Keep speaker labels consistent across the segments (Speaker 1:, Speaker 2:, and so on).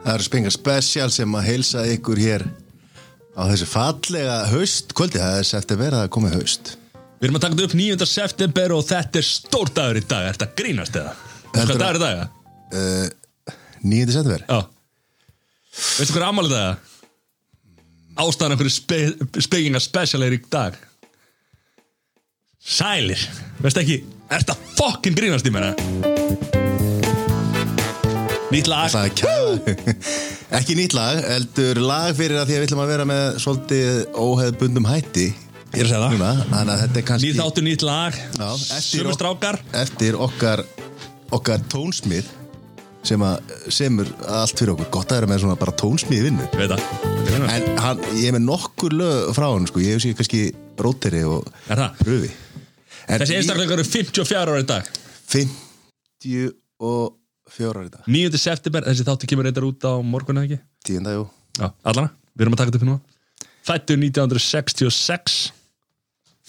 Speaker 1: Það eru spengar special sem að heilsa ykkur hér á þessu fallega haust kvöldi, það er september að það er komið haust
Speaker 2: Við erum að taka þetta upp 9. september og þetta er stór dagur í dag, er þetta grínast eða? Veistu
Speaker 1: Heldur
Speaker 2: hvað
Speaker 1: að-
Speaker 2: dagur í dag? eða?
Speaker 1: 9. september
Speaker 2: Já Veistu hvað er ammálið það? Ástæðan af hverju spe, spekinga special er í dag Sælir Veistu ekki, er þetta fokkin grínast í mér Nýtt lag
Speaker 1: Það er kæða Ekki nýtt lag, heldur lag fyrir að því að við ætlum að vera með svolítið óheðbundum hætti
Speaker 2: Ég er að segja það.
Speaker 1: Núna, Þannig að þetta er kannski
Speaker 2: Nýr þáttur, nýtt lag
Speaker 1: Já, eftir
Speaker 2: Sjöfum
Speaker 1: ok-
Speaker 2: strákar
Speaker 1: eftir okkar okkar tónsmið sem að semur allt fyrir okkur gott að vera með svona bara tónsmið í vinnu
Speaker 2: Ég Veit það Þetta er grínast.
Speaker 1: en hann, ég er með nokkur lög frá hann sko, ég hef sér kannski róteri og
Speaker 2: Er það?
Speaker 1: pröfi en
Speaker 2: Þessi einstakleikar eru 54 ára í dag
Speaker 1: 54 ára í dag
Speaker 2: 9. september, þessi þáttu kemur reyndar út á morgun eða ekki?
Speaker 1: tíunda, jú
Speaker 2: Já, allana, við erum að taka þetta upp núna Fættur 1966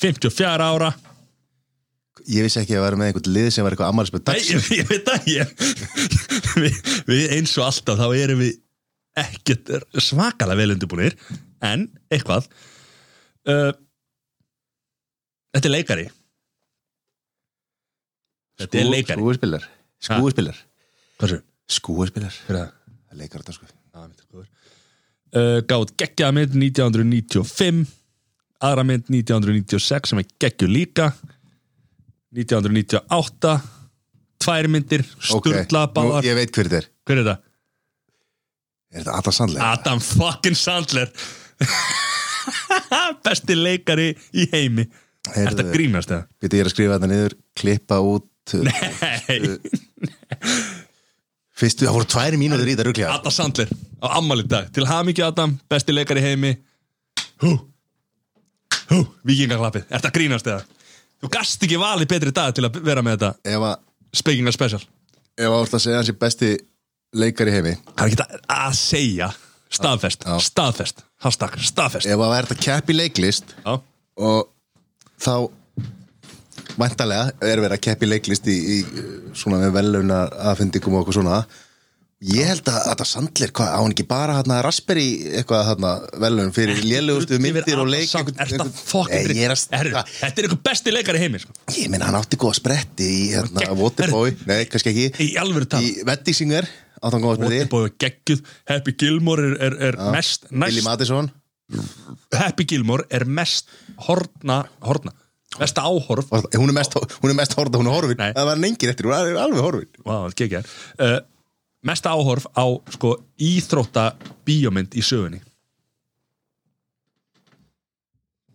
Speaker 2: 54 ára
Speaker 1: ég vissi ekki að vera með einhvern lið sem var eitthvað ammarspöð
Speaker 2: Nei,
Speaker 1: dags
Speaker 2: ég, ég veit það ég, við, við eins og alltaf þá erum við ekkert svakalega vel undirbúinir en eitthvað uh, Þetta er leikari Þetta
Speaker 1: Sko,
Speaker 2: er leikari
Speaker 1: skúspilar skúspilar
Speaker 2: Hversu?
Speaker 1: skúspilar
Speaker 2: Hver er það?
Speaker 1: leikar þetta sko
Speaker 2: Já, mynd er góður. Uh, gátt geggjaða mynd 1995 aðra mynd 1996 sem er geggju líka 1998 tvær myndir, sturla
Speaker 1: Ok, nú,
Speaker 2: báðar
Speaker 1: ég veit hver þetta er
Speaker 2: hver er þetta?
Speaker 1: er þetta Adam Sandler?
Speaker 2: Adam fucking Sandler besti leikari í heimi
Speaker 1: Heyrðu.
Speaker 2: Er þetta grínast eða?
Speaker 1: Viti, ég er að skrifa þetta niður, klippa út uh,
Speaker 2: Hey,
Speaker 1: Fyrstu, það voru tværi mínútur í þetta rugglega
Speaker 2: Adam Sandler á ammali dag til hamingju Adam, besti leikari í heimi hú hú, vikingaklappið, er þetta grínast eða? Þú gast ekki valið betri dag til að vera með þetta
Speaker 1: Ef að,
Speaker 2: Speaking of special
Speaker 1: ef að orða að segja hans er besti leikari í heimi
Speaker 2: Það er ekki að, að segja staðfest,
Speaker 1: Já.
Speaker 2: staðfest, hashtag, staðfest
Speaker 1: Ef að væri þetta keppi leiklist
Speaker 2: Já,
Speaker 1: og þá væntalega er verið að keppi leiklist í, í uh, svona með veluna aðfendingum og okkur svona Ég held að þetta Sandler, hvað, á hann ekki bara hann að rasperi eitthvað hann að velun fyrir lélugustu myndir og leik
Speaker 2: Er þetta
Speaker 1: Nei,
Speaker 2: fokkin
Speaker 1: ég er að,
Speaker 2: Herru, Þetta er einhver besti leikari í heimi sko.
Speaker 1: Ég meina, hann átti góða spretti í hérna,
Speaker 2: Gegn-
Speaker 1: Waterboy, nei, kannski ekki
Speaker 2: Í alvöru tala.
Speaker 1: Í Veddingsinger, átti hann góða spretti
Speaker 2: Waterboy er geggjuð Happy Gilmore er, er, er mest
Speaker 1: Billy
Speaker 2: næst,
Speaker 1: Madison
Speaker 2: Happy Gilmore er mest horna, horna mesta áhorf
Speaker 1: Var það- Hún er mest, hún er mest horfða, hún er horfin
Speaker 2: Nei.
Speaker 1: Það var hann engin eftir, hún er alveg horfin
Speaker 2: Vá, þetta gekkja uh, Mesta áhorf á sko íþrótta bíómynd í sögunni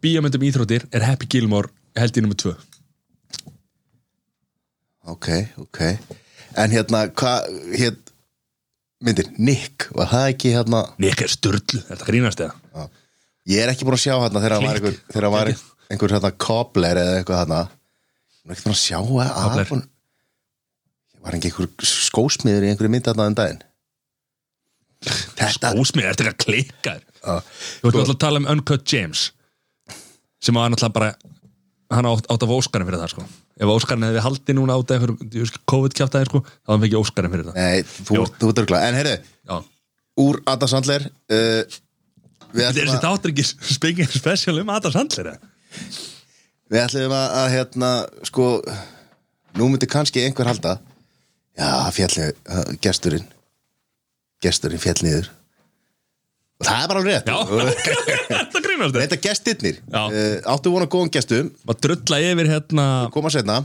Speaker 2: Bíómynd um íþróttir er Happy Gilmore held í nummer 2
Speaker 1: Ok, ok En hérna, hvað, hérna myndir, Nick, var það ekki hérna
Speaker 2: Nick er störlu, þetta grínast eða
Speaker 1: á. Ég er ekki búin að sjá hérna þegar hann var
Speaker 2: Klipp.
Speaker 1: einhver, þegar hann var
Speaker 2: Klipp.
Speaker 1: einhver hérna kobler eða eitthvað hérna Ég er ekki búin að sjá að
Speaker 2: Cobbler.
Speaker 1: að hún Var ekki einhver skósmiður í einhverju mynd hérna um daginn Þetta
Speaker 2: Ósmið, þetta er ekki að klikka þér.
Speaker 1: á.
Speaker 2: Þú ert alltaf að tala um Uncut James sem var náttúrulega bara hann átt, átt af Óskarinn fyrir það sko Ef Óskarinn hefði haldið núna át af einhverjum COVID-kjáftæði sko, þá hann fekk ég Óskarinn fyrir það
Speaker 1: Nei, þú,
Speaker 2: Jú.
Speaker 1: þú dörgla En heyrðu,
Speaker 2: Já
Speaker 1: úr Adam Sandler uh, Við
Speaker 2: Þetta er
Speaker 1: ætlum
Speaker 2: þessi
Speaker 1: að,
Speaker 2: þáttur ekki speaking special um Adam Sandler eða?
Speaker 1: við ætlum að, að hérna, sko nú myndi kannski einhver halda já, fjalli, gesturinn gesturinn fjall niður og það er bara alveg rétt
Speaker 2: Já, þetta grínast þetta
Speaker 1: reynda gestirnir
Speaker 2: Já.
Speaker 1: uh, áttu vona góðan gestum,
Speaker 2: Maður drulla yfir hérna
Speaker 1: koma setna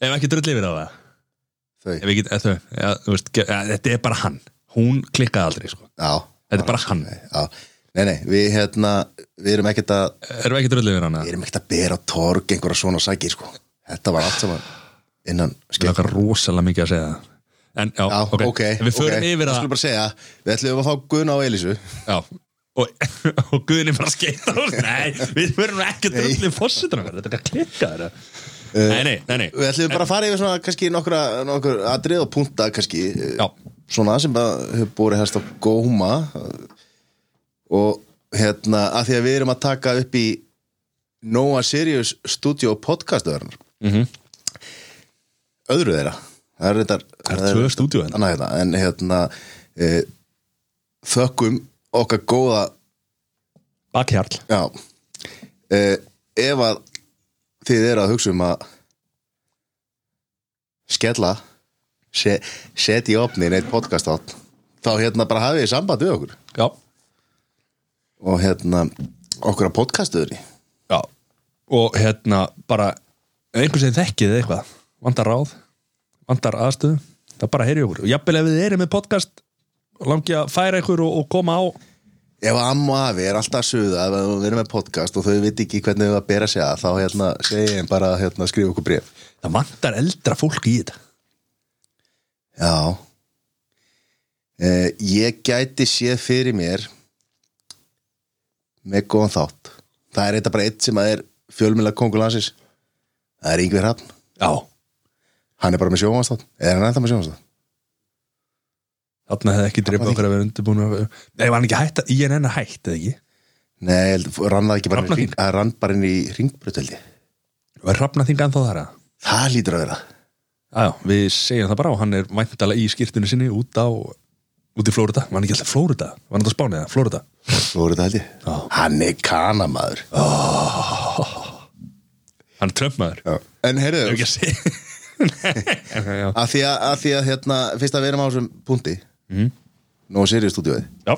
Speaker 2: Ef ekki drulla yfir á það
Speaker 1: þau,
Speaker 2: Ef ekki, eða, þau, ja, þú veist, ge- ja, Þetta er bara hann Hún klikkaði aldrei sko.
Speaker 1: já,
Speaker 2: Þetta er bara hann
Speaker 1: já nei, nei, við hérna, við erum ekkert að
Speaker 2: Erum við ekki drulla yfir hana?
Speaker 1: við erum ekkert að bera á torg einhverja svona sækir, sko þetta var allt saman innan
Speaker 2: Ég
Speaker 1: skemmtilega
Speaker 2: lakar rosalega mikið að segja það En já,
Speaker 1: Já, ok, ok
Speaker 2: Við förum yfir
Speaker 1: Ég
Speaker 2: að
Speaker 1: skulle bara segja, við ætlum að fá Gunna og Elísu
Speaker 2: Já Og, og guðin er bara að skeita úr. Nei, við verum ekki að drulla yfir fósitur Þetta er ekki að klikka þeirra Nei, nei, nei, nei
Speaker 1: Við ætlum bara að fara yfir svona kannski nokkra, nokkur atrið og punta kannski eh,
Speaker 2: Já.
Speaker 1: Svona sem bara hefur búið hérst á góma Og hérna, að því að við erum að taka upp í Nóa Sirius Studio podcastöðurnar Öðru þeirra Það er þetta
Speaker 2: Það er tvö stúdíu hérna.
Speaker 1: hérna En hérna, e, þökkum okkar góða
Speaker 2: Bakhjarl
Speaker 1: já, eh, ef að þið eru að hugsa um að skella se, setja í opnin eitt podcast átt þá hérna bara hafið þið samband við okkur
Speaker 2: Já,
Speaker 1: og hérna okkur að podcastuðri
Speaker 2: já Og hérna bara ef einhver sem þekkið eða eitthvað Vandar ráð, vandar aðstöðu Það bara heyri okkur Og jafnvel ef þið erum með podcast Langi að færa ykkur og, og koma á
Speaker 1: ef að amma og afi er alltaf að suða ef að við erum með podcast og þau veit ekki hvernig þau að bera sig að þá hérna segi ég þeim bara að, hérna, skrifa okkur bref
Speaker 2: Það vandar eldra fólk í þetta
Speaker 1: Já eh, Ég gæti séð fyrir mér með góðan þátt Það er þetta bara eitt sem að er fjölmjöla kongulansins Það er Yngvi Hrafn
Speaker 2: Já,
Speaker 1: Hann er bara með sjóvansþátt Er hann ennþá með sjóvansþátt?
Speaker 2: þarna hefði ekki drefað
Speaker 1: því.
Speaker 2: okkur að vera undirbúin að... Nei, var hann ekki hætt að INN er hætt, eða ekki?
Speaker 1: Nei, ég held- rann það ekki bara inn
Speaker 2: Hrafnar
Speaker 1: í hring- hann rann bara inn í ringbröteldi
Speaker 2: Var Hrafnaþing ennþá þar að?
Speaker 1: Það lítur að vera
Speaker 2: Já, já, við segjum það bara og hann er væntalega í skýrtinu sinni út á út í Flórida, var hann ekki alltaf Flórida var hann alltaf Spánið eða Flórida
Speaker 1: Svo voru þetta held ég
Speaker 2: Já.
Speaker 1: Hann er kanamaður
Speaker 2: hann er Trump-maður
Speaker 1: Já. En heyrðu,
Speaker 2: Ef ekki að segja Nei, já.
Speaker 1: að því að, að, því að hérna, fyrst að við erum á þessum punkti mm.
Speaker 2: Mhm.
Speaker 1: Nú seriðu stúdíóið
Speaker 2: já,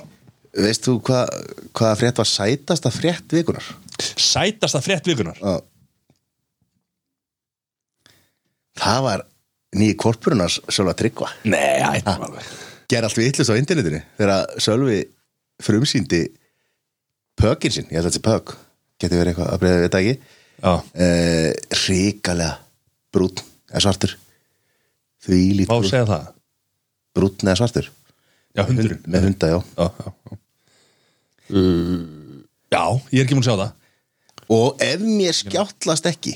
Speaker 1: Veist þú hvað hva frétt var sætasta frétt vikunar?
Speaker 2: sætasta frétt vikunar
Speaker 1: Já. Það var nýji korpurunars Sölva Tryggva.
Speaker 2: Nei, hættum alveg
Speaker 1: Ger allt við yllust á internetinu þegar Sölvi frumsýndi pökin sinn, ég held að þetta sé pök getur verið eitthvað að breyða við þetta ekki
Speaker 2: Já,
Speaker 1: uh, ríkalega brún eða svartur því
Speaker 2: má
Speaker 1: lít
Speaker 2: segja það
Speaker 1: brún eða svartur
Speaker 2: Já, hundurinn
Speaker 1: með hunda, já
Speaker 2: Já, já, já. Uh. já ég er ekki múin að sjá það
Speaker 1: Og ef mér skjáttlast ekki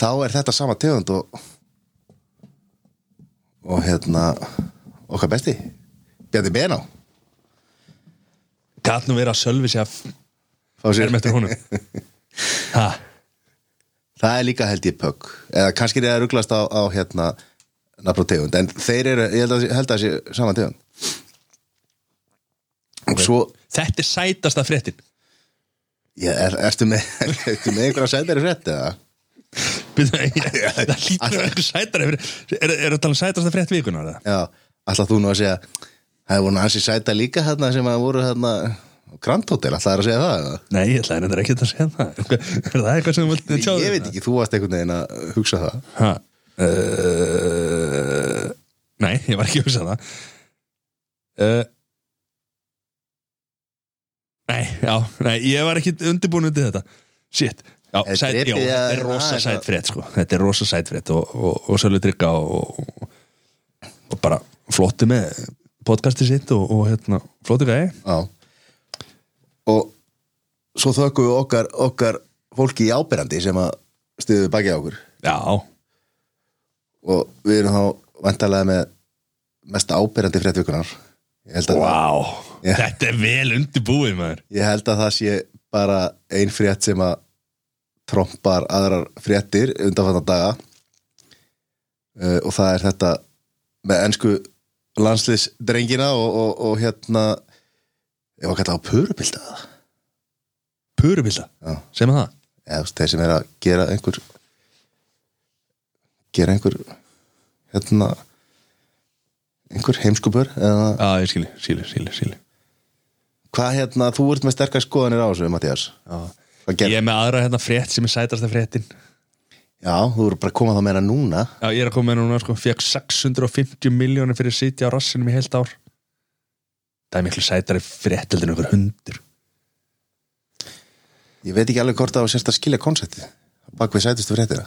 Speaker 1: þá er þetta sama tegund og og hérna okkar besti Bjarni Bená
Speaker 2: Gat nú verið að sölvi sig að
Speaker 1: Fá sér-
Speaker 2: erum eftir honum Ha,
Speaker 1: Það er líka held ég pögg eða kannski er það rugglast á, á hérna nafn og tegund, en þeir eru ég held að, held að sé sama tegund og svo
Speaker 2: þetta er sætasta fréttin
Speaker 1: ég, er, ertu með ertu með einhverja sætari frétt eða?
Speaker 2: Byrðu, ég, það lítur að vera eitthvað sætara fyrir, er, er að tala um sætasta frétt vikunar eða?
Speaker 1: Já, alltaf þú nú að segja Það er voru hansi sæta líka hérna sem að voru hérna Grand Hotel, alltaf er að segja það eða?
Speaker 2: Nei, ég ætlaði reyndar ekki að segja það Er það eitthvað sem þú vilt tjáðu?
Speaker 1: Ég veit ekki, þú varst einhvern veginn að hugsa það
Speaker 2: ha, uh, Nei, ég var ekki að hugsa um það uh, Nei, já, nei, ég var ekki undirbúin undir þetta Shit, já,
Speaker 1: Er
Speaker 2: sæt,
Speaker 1: drepið
Speaker 2: já,
Speaker 1: að-
Speaker 2: þetta er
Speaker 1: það
Speaker 2: rosa
Speaker 1: er það.
Speaker 2: sæt frétt sko. Þetta er rosa sæt frétt og, og, og Sölvi Trygga og, og, og bara flotti með podcasti sitt og, og hérna, flotti gæði
Speaker 1: Já Og svo þökkum við okkar, okkar fólki í ábyrjandi sem að stuðu bakið á okkur
Speaker 2: Já,
Speaker 1: og við erum þá vantarlega með mest ábyrjandi fréttvíkunar Ég held að,
Speaker 2: Vá,
Speaker 1: Já.
Speaker 2: þetta er vel undirbúið maður
Speaker 1: ég held að það sé bara ein frétt sem að trompar aðrar fréttir undanfannan daga uh, og það er þetta með ennsku landsliðsdrengina og, og, og hérna ég var að kalla á purubilda það
Speaker 2: Purubilda,
Speaker 1: Já.
Speaker 2: sem það
Speaker 1: eða þú veist, þeir sem er að gera einhver gera einhver hérna einhver heimskupur eða
Speaker 2: Já, ég skilji, skilji, skilji, skilji
Speaker 1: hvað hérna, þú ert með sterkar skoðanir á þessu Mattias, hvað
Speaker 2: Ég
Speaker 1: gerð
Speaker 2: er með aðra hérna frétt sem er sætasta fréttin
Speaker 1: já, þú eru bara að koma þá meira núna
Speaker 2: Já, ég er að koma með núna sko Fekk 650 miljónir fyrir að sitja á rassinum í heilt ár Það er miklu sætari frétt heldur en einhver hundur
Speaker 1: Ég veit ekki alveg hvort það var sérst að skilja konseptið bak við sætustu fréttina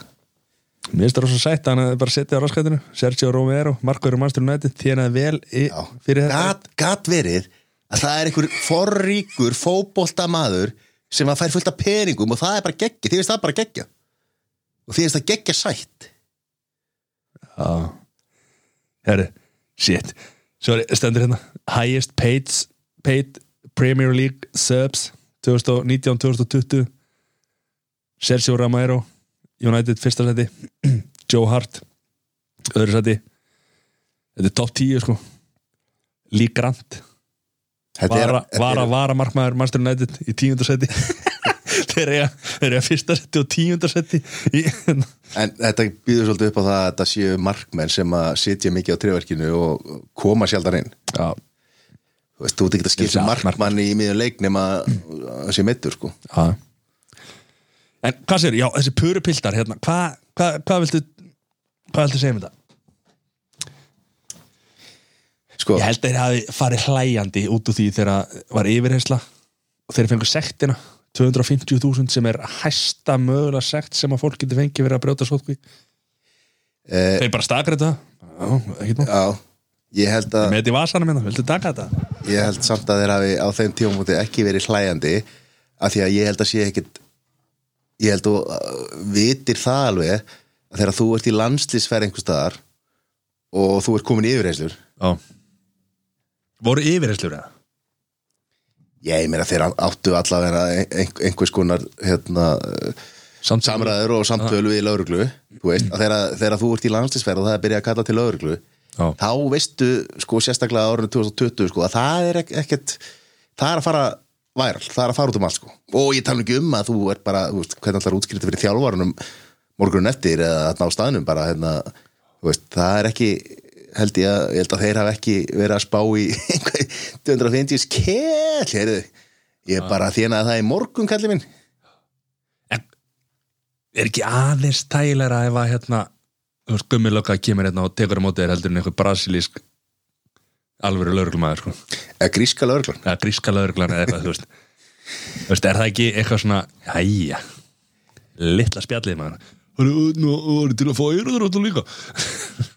Speaker 2: Mér finnst það rosa sætt að hann hefði bara setja á raskættinu Sergio Romero, Marko Romanstur Nætti Þjánaði vel í,
Speaker 1: Já.
Speaker 2: fyrir þetta
Speaker 1: gat, gat verið að það er einhver forríkur fótbolta maður sem að fær fullt af peningum og það er bara geggja, því veist það bara geggja og því veist það geggja sætt
Speaker 2: Já Herri, shit Sorry, stendur hérna Highest paid, paid Premier League subs 2019-2020 Sergio Romero United fyrsta seti Joe Hart öðru seti Þetta er top 10 sko Lee Grant
Speaker 1: Þetta er,
Speaker 2: vara,
Speaker 1: þetta
Speaker 2: vara,
Speaker 1: er,
Speaker 2: vara markmaður Manchester United í tíundarsæti þeir eiga, þeir eiga fyrsta seti og tíundarsæti í,
Speaker 1: en þetta býður svolítið upp á það að þetta séu markmenn sem að sitja mikið á trefverkinu og koma sjaldan inn
Speaker 2: já,
Speaker 1: þú veist, þú ert ekki að skilja
Speaker 2: Ég held að
Speaker 1: markmann í miðjum leik nema að að sé meittur sko
Speaker 2: já en hvað sér, já, þessi puru piltar hérna, hvað hva, hva viltu hvað viltu segja um þetta?
Speaker 1: sko,
Speaker 2: Ég held að þeir hafi farið hlæjandi út úr því þegar var yfirheysla og þeir fengur sektina 250.000 sem er hæsta mögulega sekt sem að fólk getur fengið verið að brjóta sótkví
Speaker 1: Eh.
Speaker 2: Þeir bara stakar þetta Já, ekkert mál.
Speaker 1: já ég held að
Speaker 2: Með þetta í vasanum minna, viltu taka þetta?
Speaker 1: ég held samt að þeir hafi á þeim tímumúti ekki verið hlæjandi af því að ég held að sé ekkit ég held að þú uh, vitir það alveg að þegar þú ert í landslýsferð einhver staðar og þú ert komin í yfirheyslur
Speaker 2: Já Voru yfirheyslur eða?
Speaker 1: ég meina þeir áttu allavega ein- einhvers konar hérna,
Speaker 2: Samt
Speaker 1: samræður og samtölu við lauruglu þú veist, að þegar, þegar þú ert í landslýsferð og það er byrjað að kalla til lauruglu
Speaker 2: Já,
Speaker 1: þá veistu sko sérstaklega á árinu 2020 sko að það er ek- ekkert það er að fara væral, það er að fara út um allt sko og ég tala nú ekki um að þú er bara þú veist, hvernig allar útskrifti fyrir þjálfarunum morgunum eftir eða þarna á staðnum bara hérna, þú veist, það er ekki held ég að, ég held að þeir hafa ekki verið að spá í einhver 250 skell, heyrðu ég bara þjónaði það í morgun, kalli minn
Speaker 2: er ekki aðeins tægilega ef að hérna þú veist, gummilöka kemur hérna og tekur á móti þér heldur en einhver brasilísk alvöru lögreglumæður sko
Speaker 1: eða gríska lögreglan
Speaker 2: eða gríska lauruglan eða eitthvað, þú veist þú veist, er það ekki eitthvað svona hæja, litla spjallið maður Hann er nú hann er til að fá eyrúðuráttu líka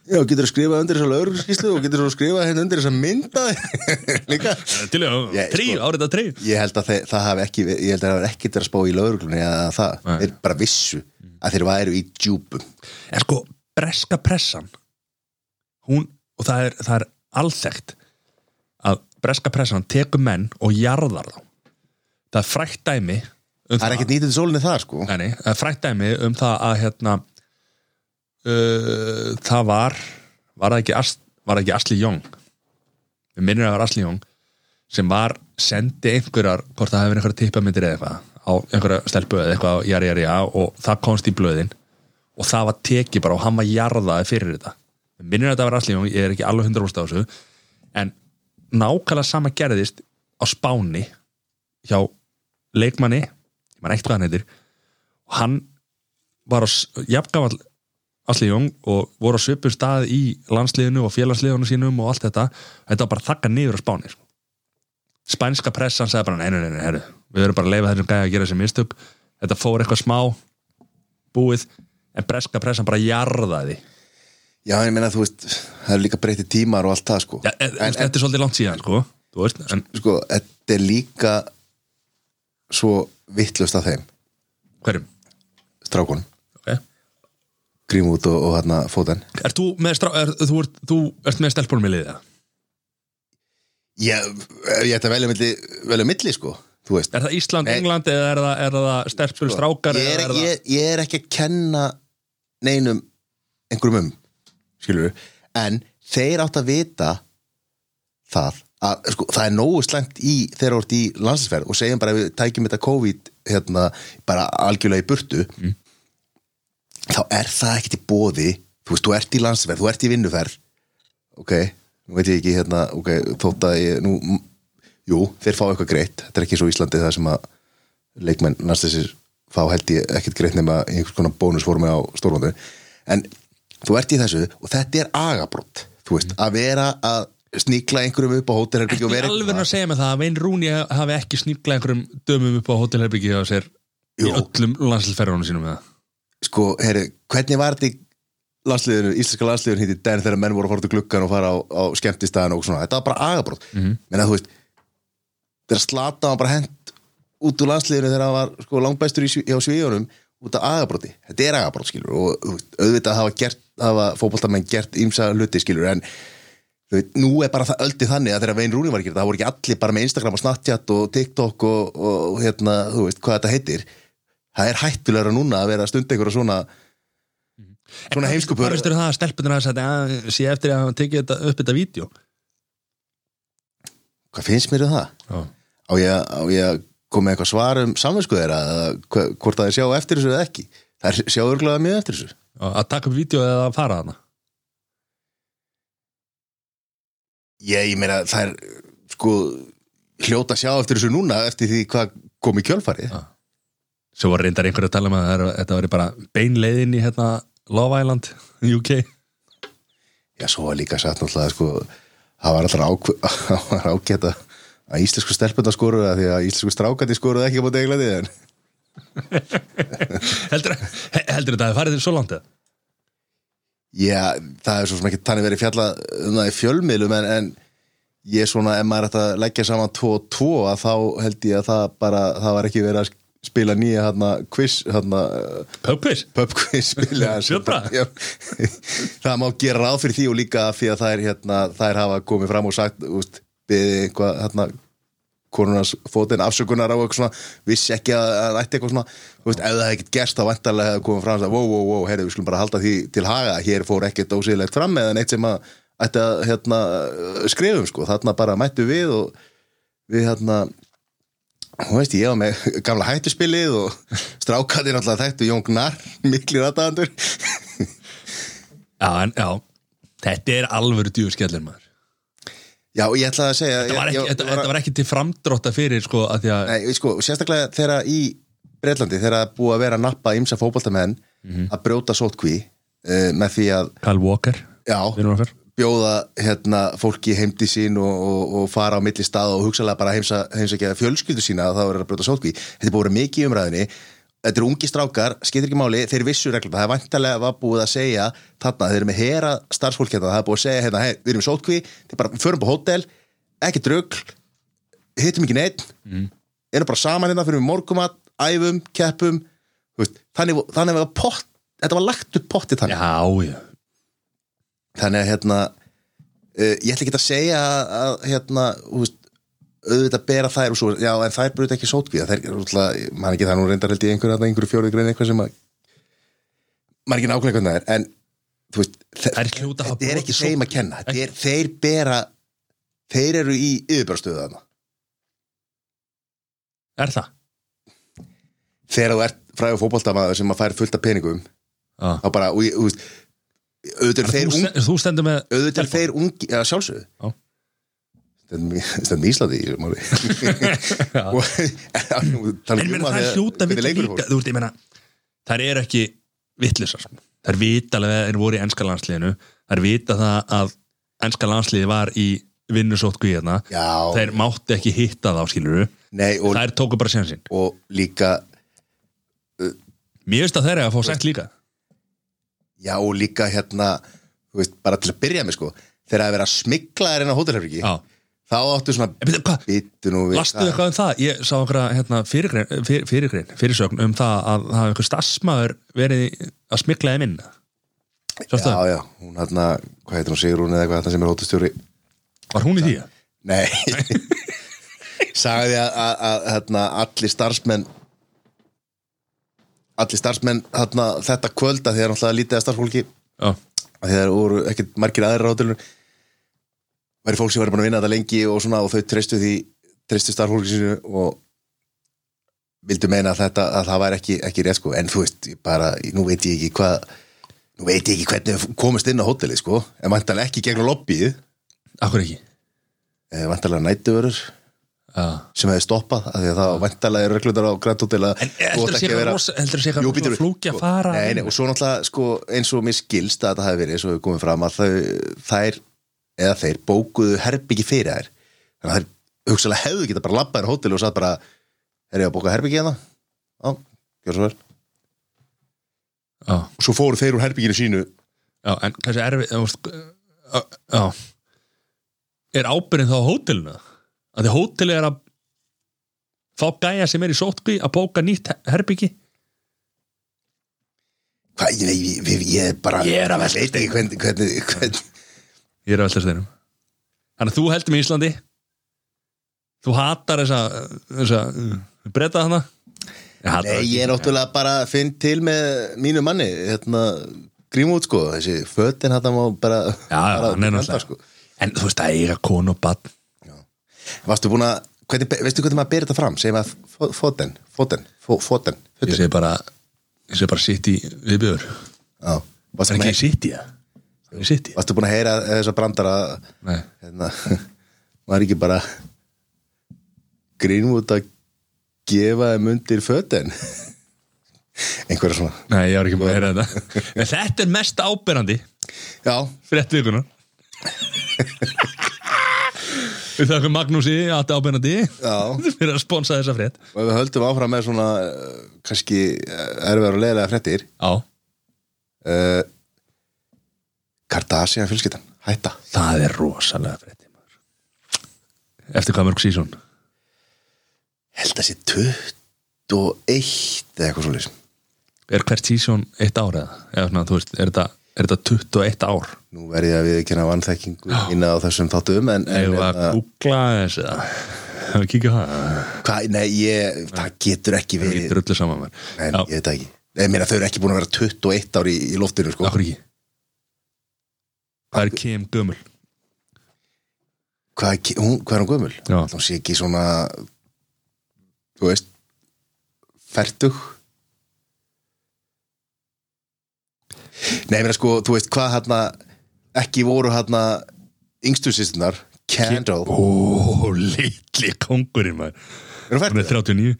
Speaker 1: Já, getur þú skrifað undir þessa lögreglskíslu og getur þú skrifað henni undir þessa mynda líka
Speaker 2: Til að
Speaker 1: Ég,
Speaker 2: trí,
Speaker 1: sko-
Speaker 2: árið að trí
Speaker 1: ég held að þeir, það hafi ekki ég held að það hafi ekki verið að spá í lauruglunni eða það,
Speaker 2: Nei.
Speaker 1: þeir bara vissu að þeir væru í djúpum
Speaker 2: En sko, breska pressan hún, og það er, það er alþekkt að breska pressan tekur menn og jarðar þá Það er frækt dæmi um
Speaker 1: það er ekkert nýtið sólinni það sko
Speaker 2: Nei, nei, það er frækt dæmi um það að hérna uh, það var var það ekki, Ast, var það ekki Asli Young við minnir að það var Asli Young sem var, sendi einhverjar hvort það hefur einhverjar tippamindir eða eitthvað á einhverja stelpu eða eitthvað, á jari, jari, já og það komst í blöðin og það var tekið bara og hann var jarðaði fyrir þetta við minnir að þetta var Asli Young, ég er ekki alveg 100% á þessu en nákvæmlega sama gerðist á Spáni hjá leikmanni ég maður eitt hvað hann heitir og hann var á jafnkvæmall Asli Jón og voru á svipum stað í landsliðinu og félagsliðinu sínum og allt þetta þetta var bara þakka niður á Spáni sko. spænska pressan sagði bara neina, neina, herru, við verum bara að leifa þessum gæja að gera þessi mistök, þetta fór eitthvað smá búið, en breska pressan bara jarðaði
Speaker 1: já, ég meina þú veist, það er líka breytið tímar og allt það sko
Speaker 2: ja, e, en,
Speaker 1: en, en
Speaker 2: þetta er svolítið langt síðan sko, þú veist, en
Speaker 1: sko, þetta er líka svo vittlust af þeim
Speaker 2: hverjum
Speaker 1: strákunum,
Speaker 2: okay.
Speaker 1: grímút og, og hérna fóten
Speaker 2: er þú með, strá, er, þú, ert, þú ert með stelpunum í liðið,
Speaker 1: ég, ég ætti að velja milli, velja milli sko, þú veist
Speaker 2: er það Ísland,
Speaker 1: Nei. Sko,
Speaker 2: England eða er það, er það stelpur, strákar
Speaker 1: ég
Speaker 2: eða
Speaker 1: er,
Speaker 2: það-
Speaker 1: ég, ég er ekki að kenna neinum einhverjum um skilur en þeir átt að vita það að sko, það er nógu slæmt í þegar þú ert í landsinsferð og segjum bara ef við tækjum þetta COVID hérna, bara algjörlega í burtu þá er það ekkert í bóði þú veist, þú ert í landsinsferð, þú ert í vinnuferð ok, nú veit ég ekki hérna, ok, þótt að ég nú, m- jú, þeir fá eitthvað greitt þetta er ekki svo Íslandi það sem að leikmenn landslæsir fá held ég ekkert greitt nema í einhvers konar bónusformi á stórvöndu en þú ert í þessu og þetta er agabrott þú veist, að vera að sníkla einhverjum upp á hótelherbyggi
Speaker 2: Ertu
Speaker 1: og
Speaker 2: í
Speaker 1: vera
Speaker 2: alveg að segja mig það að Vein Rúni hafi ekki snýklað einhverjum dömum upp á hótelherbyggi á sér í
Speaker 1: Jú.
Speaker 2: öllum landslferðunum sínum með það
Speaker 1: sko, heyri, hvernig var þetta í landsliðinu, íslenska landsliðinu hitt í den þegar menn voru að fara út í gluggan og fara á, á skemmtistæðan og svona, þetta var bara agabrót mm -hmm. menn að þú veist þegar slata hann bara hent út úr landsliðinu þegar hann var sko, langbæstur í, Sví- hjá svíjónum út af agabróti, þetta er agabrót skilur og þú veist, auðvitað hafa, gert, hafa fótboltamenn gert ímsa hluti skilur en þú veit, nú er bara það öldið þannig að þegar Vein Rúni var að gera það, það voru ekki allir bara með Instagram og Snapchat og TikTok og, og hérna, þú veist, hvað þetta heitir það er hættulegra núna að vera að stunda einhverja svona svona
Speaker 2: um
Speaker 1: heimskupur
Speaker 2: Hvað veistu það að stelpunir hafi sagt að sé eftir að hann tekið þetta, upp þetta vídeo
Speaker 1: hvað finnst mér um það?
Speaker 2: Já.
Speaker 1: Á ég, að- á ég að koma með eitthvað svar um samvinsku þeirra eða hva- hvort að þeir sjá eftir þessu eða ekki Það sjá örglega mjög eftir þessu
Speaker 2: Að taka upp vídeo eða að fara hana
Speaker 1: Ég, ég meina það er sko hljóta að sjá eftir þessu núna eftir því hvað kom í kjölfarið
Speaker 2: Já. Svo var reyndar einhverju að tala um að það er- þetta var bara beinleiðin í hérna Love Island UK
Speaker 1: Já, svo var líka satt náttúrulega sko, það var alltaf ák það var ágætt að að íslensku stelpunda skoruða því að íslensku strákandi skoruða ekki á móti eiglandi en
Speaker 2: Heldur, heldur þetta að farið þér svo langt eða?
Speaker 1: Já, það er svo sem ekki þannig verið fjallað um það í fjölmiðlum en, en ég er svona, ef maður ætti að leggja saman 2 og 2 að þá held ég að það bara, það var ekki verið að spila nýja hérna quiz, hérna
Speaker 2: Pöppis?
Speaker 1: pub quiz spila
Speaker 2: Sjöbra?
Speaker 1: Já. Það má gera ráð fyrir því og líka því að þær hérna, þær hafa komið fram og sagt, úst, beðið eitthvað hérna konunars fótinn afsökunar á eitthvað svona, vissi ekki að það ætti eitthvað svona, þú veist, ef það hefði ekkert gerst þá vantarlega hefði komið fram að, wow, wow, wow, herri, við skulum bara halda því til haga, hér fór ekkert ósýðilegt fram eða neitt sem að ætti að hérna, skrifum, sko, þarna bara mættu við og við hérna þú veist, ég var með gamla hættuspilið og strákaðir alltaf þekktu Jón Gnar, miklir aðdæðandur
Speaker 2: Já, en já, þetta er alvöru djúrskellin maður.
Speaker 1: Já, og ég ætlaði að segja
Speaker 2: Þetta var ekki,
Speaker 1: ég,
Speaker 2: þetta, þetta var ekki til framdrótta fyrir sko að því að,
Speaker 1: Nei, sko, sérstaklega þegar í Breitlandi, þegar það er búið að vera að nappa ímsa fótboltamenn
Speaker 2: Mhm.
Speaker 1: að brjóta sótkví uh, með því að,
Speaker 2: Kyle Walker,
Speaker 1: já,
Speaker 2: vinnur okkar.
Speaker 1: bjóða hérna, fólki heimdi sín og, og, og fara á milli stað og hugsalega bara heimsa, heimsa ekki að fjölskyldu sína að það verður að brjóta sótkví þetta er búið að vera mikið í umræðinni þetta eru ungi strákar, skiptir ekki máli, þeir vissu reglum það er vantarlega var búið að segja þarna, þeir eru með hera starfsfólk hérna það er búið að segja, hérna, hey, við erum í sótkví þeir bara, förum på hótel, ekki drugl hittum ekki neitt erum bara saman hérna, fyrir morgumat æfum, keppum þú veist, þannig, þannig var pott, þetta var lagt upp potti þannig
Speaker 2: Já, já.
Speaker 1: þannig að hérna uh, ég ætla ekki að segja að, að hérna, þú veist auðvitað bera þær og svo, já en þær brut ekki sótkvíða, þær, rúttlega, maður ekki það er nú reyndar held í einhverju, þarna, einhverju fjóruð grein eitthvað sem að maður ekki nákvæmlega hvernig það er, en þú veist, þe-
Speaker 2: Þær hljóta að hafa
Speaker 1: þetta er ekki
Speaker 2: brotið
Speaker 1: þeim
Speaker 2: sótkví.
Speaker 1: að kenna, þetta er, þeir bera þeir eru í yfirbjörnstöðu þarna
Speaker 2: Er það?
Speaker 1: þegar þú ert fræðu fótboltamaður sem að fær fullt af peningum,
Speaker 2: Já.
Speaker 1: þá bara og, ég- þú veist, auðvitað eru þeir
Speaker 2: Þú,
Speaker 1: ung
Speaker 2: st þú stendur með
Speaker 1: auðvitað er
Speaker 2: telefón.
Speaker 1: þeir ungi, eða sjálfsögðu
Speaker 2: Já.
Speaker 1: stendum í Íslandi í þessu máli
Speaker 2: Já.
Speaker 1: Og- en nú tala
Speaker 2: En
Speaker 1: ekki um
Speaker 2: meina
Speaker 1: að
Speaker 2: það
Speaker 1: þegar-
Speaker 2: er hljóta
Speaker 1: hvernig
Speaker 2: við
Speaker 1: leikur
Speaker 2: líka,
Speaker 1: fór.
Speaker 2: þú veist, ég meina, þær eru ekki vittlisar. Þær vita alveg að þeir voru í enska landsliðinu, þær vita það að enska landsliði var í vinnusótku í hérna,
Speaker 1: já,
Speaker 2: þær mátti ekki hitta þá skiluru,
Speaker 1: nei og,
Speaker 2: þær tóku bara sénsinn.
Speaker 1: og líka
Speaker 2: Mér veist að þær eru að fá sett líka.
Speaker 1: já og líka hérna þú veist, bara til að byrja með sko þegar það er verið að smikla þér inn á hótelherbergi
Speaker 2: Já.
Speaker 1: þá áttu svona
Speaker 2: En betur, hvað,
Speaker 1: bitu nú við
Speaker 2: Lastu eitthvað um það? Ég sá einhverja hérna, fyrirgrein, fyrir, fyrirgrein, fyrirsögn um það að það hafa einhver starfsmæður verið í- að smikla þeim inn. Sástu það?
Speaker 1: já já, hún hérna, hvað heitir hún Sigrún eða eitthvað hérna sem er hótelstjóri
Speaker 2: Var hún í því?
Speaker 1: Nei Sagði að, að, að hérna, allir starfsmenn allir starfsmenn hérna, þetta kvölda því að náttúrulega lítið að starfsfólki
Speaker 2: Já.
Speaker 1: að því að það voru ekkert margir aðrir ráðilur væri fólk sem væri búin að vinna þetta lengi og svona og þau treystu því treystu starfsfólki sínu og vildu meina að þetta að það væri ekki, ekki rétt sko en þú veist, ég bara, nú veit ég ekki hvað nú veit ég ekki hvernig við komist inn á hótelið sko, en vantanlega ekki gegnum lobbyið,
Speaker 2: Akkur ekki?
Speaker 1: eh, vantanlega nættuvörur
Speaker 2: Já.
Speaker 1: sem hefði stoppað af því að það var væntalega reglundar á Grand Hotel að
Speaker 2: En eh,
Speaker 1: þú átt ekki að
Speaker 2: heldur það sé eitthvað
Speaker 1: vera-
Speaker 2: rosa, heldur það sé
Speaker 1: Jú,
Speaker 2: eitthvað
Speaker 1: býtur
Speaker 2: rosa
Speaker 1: við.
Speaker 2: flúki að fara?
Speaker 1: Nei, nei, og svo náttúrulega sko, eins og mér skilst að þetta hafi verið eins og við komum fram að þau, þær eða þeir bókuðu herbyggi fyrir þær þannig að þær hugsalega hefðu geta bara labbað í hótel og satt bara er ég að bóka herbyggi hérna? Já, gjör svo vel
Speaker 2: Já,
Speaker 1: og svo fóru þeir úr herbygginu sínu
Speaker 2: já en kannski erfið, þú veist, já, já. Er ábyrðin þá á hótelinu? Að því hótelið er að fá gæja sem er í sótkví að bóka nýtt her- herbyggi?
Speaker 1: hvað, ég, ég, ég, ég er bara
Speaker 2: Ég er að velta
Speaker 1: veit ekki hvernig, hvernig, hvernig
Speaker 2: Ég er að velta steinum Þannig að þú heldur með Íslandi Þú hatar þessa, þessa uh, breyta hana Ég hatar
Speaker 1: Nei,
Speaker 2: ekki.
Speaker 1: ég er náttúrulega bara að finn til með mínu manni, hérna grímút sko, þessi fötin hann má bara
Speaker 2: Já, já,
Speaker 1: bara
Speaker 2: hann er
Speaker 1: blanda,
Speaker 2: náttúrulega
Speaker 1: sko.
Speaker 2: En þú veist að eiga konu og bann
Speaker 1: Varstu búin að, hvernig, be- veistu hvernig maður berið þetta fram? Segjum að fóten, fóten, fóten
Speaker 2: Ég segi bara, ég segi bara sitt í viðbjör.
Speaker 1: Já, varstu
Speaker 2: Það er
Speaker 1: búin
Speaker 2: ekki
Speaker 1: að,
Speaker 2: sitt í það. Það er ekki sitt í það.
Speaker 1: varstu búin að heyra þessa brandara
Speaker 2: Nei.
Speaker 1: hérna, maður ekki bara grínvút að gefa þeim undir fötin einhverja svona
Speaker 2: Nei, ég var ekki búin að heyra þetta. En þetta er mest áberandi
Speaker 1: Já,
Speaker 2: frétt vikuna. Við þakkum Magnúsi, allt áberandi,
Speaker 1: já
Speaker 2: fyrir að sponsa þessa frétt.
Speaker 1: og ef við höldum áfram með svona eh, kannski eh, erfiðar og leiðilega fréttir
Speaker 2: Já,
Speaker 1: uh, Kardasian fjölskyldan, hætta
Speaker 2: það er rosalega frétti. maður. Eftir hvað mörg sísón?
Speaker 1: held að sé 21 eða eitthvað svolítið
Speaker 2: Er hvert sísón eitt ár eða? Eða svona, þú veist, er þetta, er þetta 21 ár?
Speaker 1: nú verði ég að við kynna vanþekkingu innan á þessum þáttum en, en
Speaker 2: Eða að
Speaker 1: hérna,
Speaker 2: googla þessi eða? Hefur við kíkja á það?
Speaker 1: hvað, nei, ég, það getur ekki
Speaker 2: Við
Speaker 1: verið
Speaker 2: getur öllu saman maður.
Speaker 1: Nei,
Speaker 2: Já.
Speaker 1: ég veit það ekki Nei, meina, þau eru ekki búin að vera 21 ár í, í loftinu sko.
Speaker 2: Akkur ekki Það er Kim Gömul
Speaker 1: hvað, er ki- hún, hvað er hún gömul?
Speaker 2: Já.
Speaker 1: Ætli Hún sé ekki svona þú veist fertug Nei, meina sko, þú veist hvað hérna ekki voru hérna yngstu sýstunar Kendall,
Speaker 2: Ó, litli kongurinn maður
Speaker 1: er hún
Speaker 2: Hún er
Speaker 1: fertug?
Speaker 2: 39,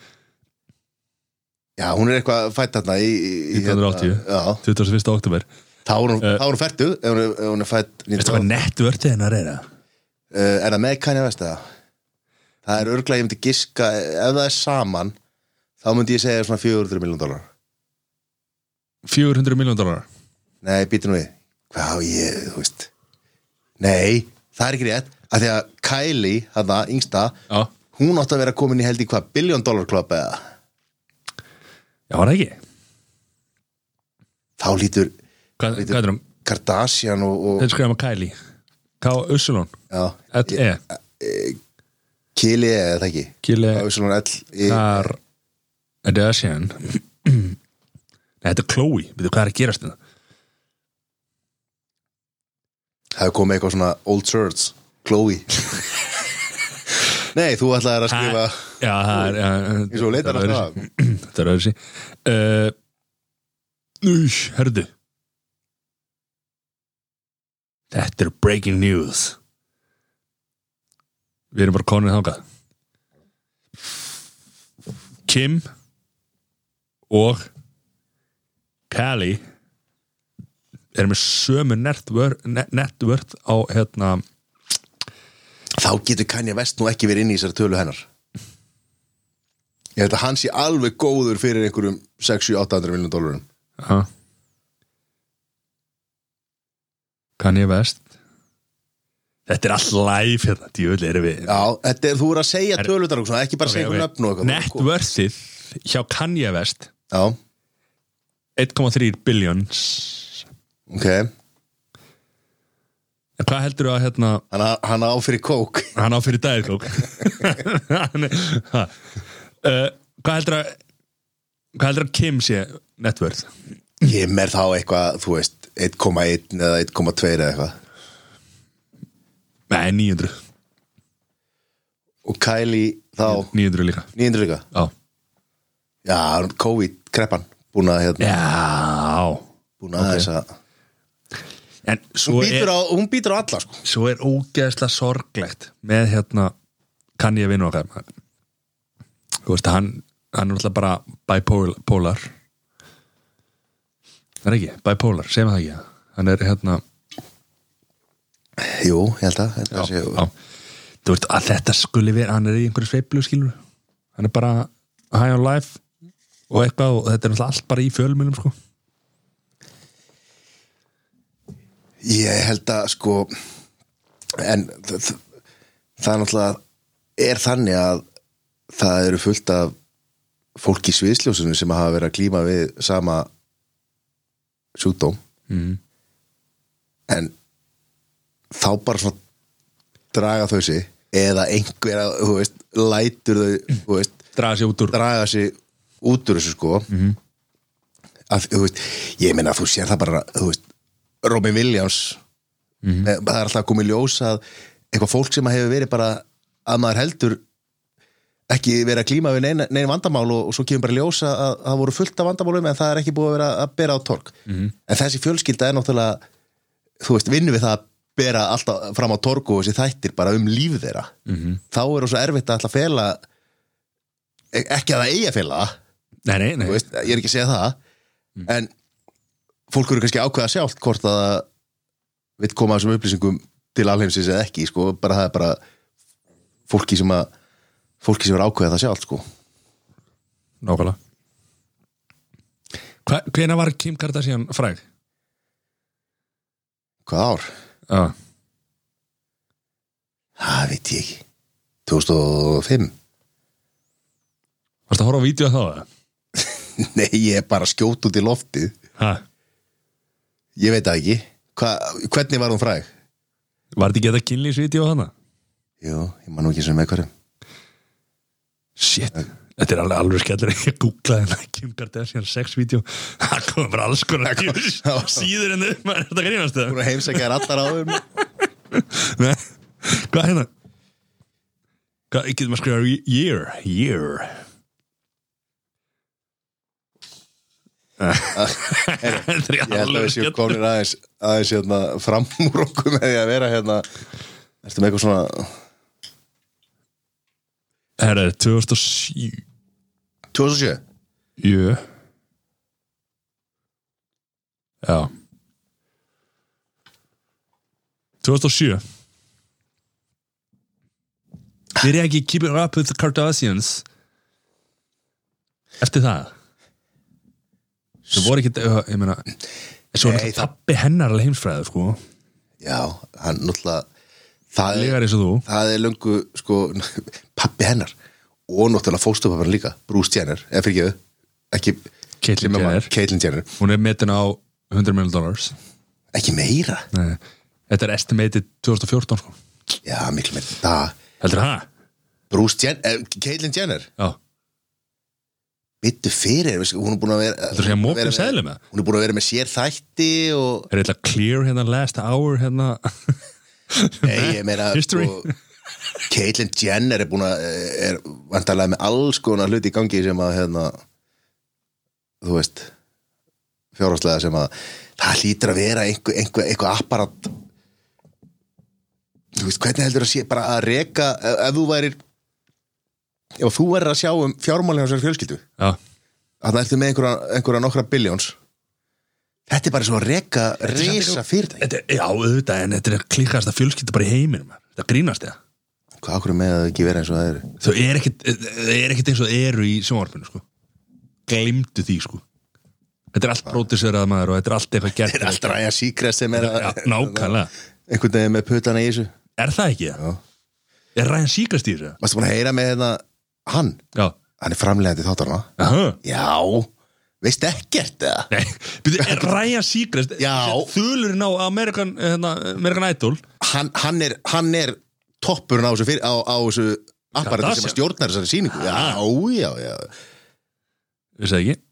Speaker 1: Já, hún er eitthvað fætt hérna í, í, í hérna-
Speaker 2: 1980.
Speaker 1: Já,
Speaker 2: 21. oktober
Speaker 1: þá er hún,
Speaker 2: Eh.
Speaker 1: þá er hún fertug ef hún, er- ef hún er fætt
Speaker 2: Veistu hvað
Speaker 1: 1980.
Speaker 2: nettvörtið hennar er það?
Speaker 1: Uh, er það með Kanye West eða? Það er örglega, ég myndi giska ef það er saman, þá myndi ég segja svona 400 miljón dólar
Speaker 2: 400 miljón dólar
Speaker 1: Nei, býtum við Hvað á ég, þú veist Nei, það er ekki rétt að Því að Kylie, hana, yngsta
Speaker 2: Já,
Speaker 1: hún átti að vera komin í held í hvað, biljón dólar klubb eða
Speaker 2: já var það ekki
Speaker 1: þá lítur
Speaker 2: Hvað, hvað er það?
Speaker 1: Kardashian og, og
Speaker 2: Þetta skrifa maður Kylie K. Ussulon
Speaker 1: já,
Speaker 2: L.E.
Speaker 1: Kylie eða það ekki
Speaker 2: Kili
Speaker 1: Ásson L í,
Speaker 2: Kar Kardashian Nei, þetta er Chloe Veitu hvað er að gerast hérna? þetta?
Speaker 1: Það er komið eitthvað svona Old Church, Chloe Nei, þú ætlaðir að skrifa
Speaker 2: Já, það er
Speaker 1: eins og leitar að það
Speaker 2: Þetta er öðru sí uh, Ús, herðu Þetta er breaking news Við erum bara konið þangað Kim og Callie erum með sömu nettvörð net á hérna
Speaker 1: þá getur Kanye West nú ekki verið inn í þessari tölu hennar ég held að hann sé alveg góður fyrir einhverjum 6-7-800 miljón dólarum
Speaker 2: Já. Kanye West Þetta er allt live hérna, djúvel erum við
Speaker 1: já, þetta er þú er að segja tölutar og svona, ekki bara segja
Speaker 2: Ok, ok.
Speaker 1: einhver nöfn og
Speaker 2: Net
Speaker 1: eitthvað sko.
Speaker 2: worthið hjá Kanye West
Speaker 1: já,
Speaker 2: 1,3 billions
Speaker 1: ok,
Speaker 2: En hvað heldur þú að hérna
Speaker 1: hann, á- hann á fyrir kók
Speaker 2: hann á fyrir dagið kók Hann er- ha. uh, Hvað heldur að hvað heldur að Kim sé net worth
Speaker 1: Kim er þá eitthvað, þú veist 1,1 eða 1,2 eða eitthvað
Speaker 2: Nei, 900
Speaker 1: og Kylie þá
Speaker 2: 900 líka
Speaker 1: 900 líka,
Speaker 2: Já,
Speaker 1: já, COVID-kreppan búin að hérna,
Speaker 2: Já.
Speaker 1: búin að þess að
Speaker 2: En svo
Speaker 1: hún
Speaker 2: er
Speaker 1: býtur á, hún býtur á alla sko
Speaker 2: svo er ógeðslega sorglegt með hérna kann ég vinna okkar maður. þú veist, hann, hann er náttúrulega bara bipolar það er ekki, bipolar, segjum það ekki hann er hérna
Speaker 1: jú, ég held að, held að sé,
Speaker 2: já. þú veist, að þetta skuli vera hann er í einhverju sveiflu skilur hann er bara high on life og eitthvað, og þetta er náttúrulega allt bara í fjölmjölum sko.
Speaker 1: Ég held að sko en þ- þ- það er náttúrulega er þannig að það eru fullt af fólki í sviðsljósunum sem hafa verið að klíma við sama sjúkdóm
Speaker 2: Mhm.
Speaker 1: en þá bara svona draga þau sig eða einhver að, þú veist, lætur þau þú veist,
Speaker 2: draga sér út úr
Speaker 1: draga sig út úr þessu sko að, þú veist, ég meina að þú sér það bara þú veist, Robin eh, Williams mm það er alltaf komið ljós að eitthvað fólk sem hefur verið bara að maður heldur ekki vera að klíma við nein, nein vandamál og, og svo kemur bara í ljós að að það voru fullt af vandamálum en það er ekki búið að vera að bera á tork
Speaker 2: Mhm.
Speaker 1: en þessi fjölskylda er náttúrulega þú veist, vinnum við það að bera alltaf fram á tork og þessi þættir bara um líf þeirra
Speaker 2: Mhm.
Speaker 1: þá er það svo erfitt að alltaf fela e- ekki að það eigi að fela það
Speaker 2: Nei, nei, nei
Speaker 1: þú veist, ég er ekki að segja það en fólk eru kannski að ákveða sjálft hvort að það vill koma þessum upplýsingum til alheimsins eða ekki, sko, bara það er bara fólki sem að fólki sem er að ákveða það sjálft, sko
Speaker 2: Nákvæmlega Hva, Hvena var Kim Kardashian fræg?
Speaker 1: hvað ár?
Speaker 2: Já,
Speaker 1: Það veit ég ekki 2005?
Speaker 2: varstu að horfa á vídeo þá? eða?
Speaker 1: Nei, ég er bara skjótt út í loftið
Speaker 2: Ha?
Speaker 1: ég veit það ekki Hva, hvernig var hún fræg?
Speaker 2: Var þetta ekki þetta kynlýsvídeó hana?
Speaker 1: Jú, ég man nú ekki sem með hverjum
Speaker 2: Shit, þetta er alveg alveg skellur Ég googlaði hérna Kim Kardashian sexvídeó Það kom bara alls konar síður en þau, maður er þetta grínast
Speaker 1: Hún
Speaker 2: það?
Speaker 1: er heimsækjaðar allar áður
Speaker 2: Nei, hvað er hérna? Hvað, getur maður skrifa year, year Þetta er
Speaker 1: Ég held að
Speaker 2: alveg
Speaker 1: við séum
Speaker 2: skellur
Speaker 1: konir aðeins, aðeins hérna, fram úr okkur með því að vera hérna Ertu með eitthvað svona
Speaker 2: Herra, 2007
Speaker 1: 2007?
Speaker 2: Jö Já 2007 Þeir ekki Keeping Up with the Kardashians Eftir það Það voru ekki uh, Ég meina Svo
Speaker 1: Nei,
Speaker 2: er
Speaker 1: það-
Speaker 2: pappi hennar alveg heimsfræður sko
Speaker 1: Já, hann náttúrulega það er,
Speaker 2: Legar eins og þú
Speaker 1: það er löngu sko, pappi hennar og náttúrulega fóstupappan líka, Bruce Jenner eða fyrir ekki
Speaker 2: Caitlyn
Speaker 1: Glemma maður,
Speaker 2: Jenner.
Speaker 1: Caitlyn Jenner
Speaker 2: Hún er metin á 100 million dollars
Speaker 1: ekki meira,
Speaker 2: Nei. Þetta er estimated 2014 sko
Speaker 1: já miklu meira það,
Speaker 2: Heldur það?
Speaker 1: Bruce Jenner, eh, Caitlyn Jenner
Speaker 2: Já
Speaker 1: byttu fyrir, veistu, hún er búin að vera
Speaker 2: Þetta er sem mókum
Speaker 1: með,
Speaker 2: seðlum eða?
Speaker 1: hún er búin að vera með sér þætti og,
Speaker 2: er eitthvað clear hérna last hour hérna
Speaker 1: nei, ég meira
Speaker 2: History.
Speaker 1: Caitlyn Jenner er búin að eh, er vantarlega með alls konar hluti í gangi sem að hérna, þú veist fjárháslega sem að það hlýtur að vera einhver, einhver, einhver apparat þú veist, hvernig heldur að sé bara að reka eh, ef, ef þú værir ef þú værir að sjá um fjármálinu sem fjölskyldu
Speaker 2: já,
Speaker 1: þannig ertu með einhverja, einhverja nokkra biljóns þetta er bara svo að reka reysa fyrirtæk
Speaker 2: þetta, er- já, auðvitað en þetta er að klíkast að fjölskylda bara í heiminum maður. þetta grínast það
Speaker 1: hvað okkur með að ekki vera eins og það eru
Speaker 2: þau er ekkit, þau er ekkit eins og þau eru í sjónvarpinu sko. glimtu því sko. þetta er allt brótiserað maður og þetta er allt eitthvað gert
Speaker 1: Þetta er alltaf ræja síkrest sem er að
Speaker 2: já, nákvæmlega,
Speaker 1: einhvern veginn með putana í þessu
Speaker 2: er það ekki?
Speaker 1: Já.
Speaker 2: er Ryan Seacrest í þessu?
Speaker 1: Varstu búin að heyra með hérna hann?
Speaker 2: já,
Speaker 1: Hann er framlegandi þáttarna
Speaker 2: aha
Speaker 1: Já, veist ekkert eða?
Speaker 2: Nei, byrju, er Ryan Seacrest
Speaker 1: Já.
Speaker 2: þulurinn á American, hérna, American Idol
Speaker 1: Hann, hann, er, hann er toppurinn á þessu, fyrir, á, á þessu apparati sem
Speaker 2: Kardashian. Ah.
Speaker 1: að stjórnar þessari síningu Já, já, já
Speaker 2: við segja ekki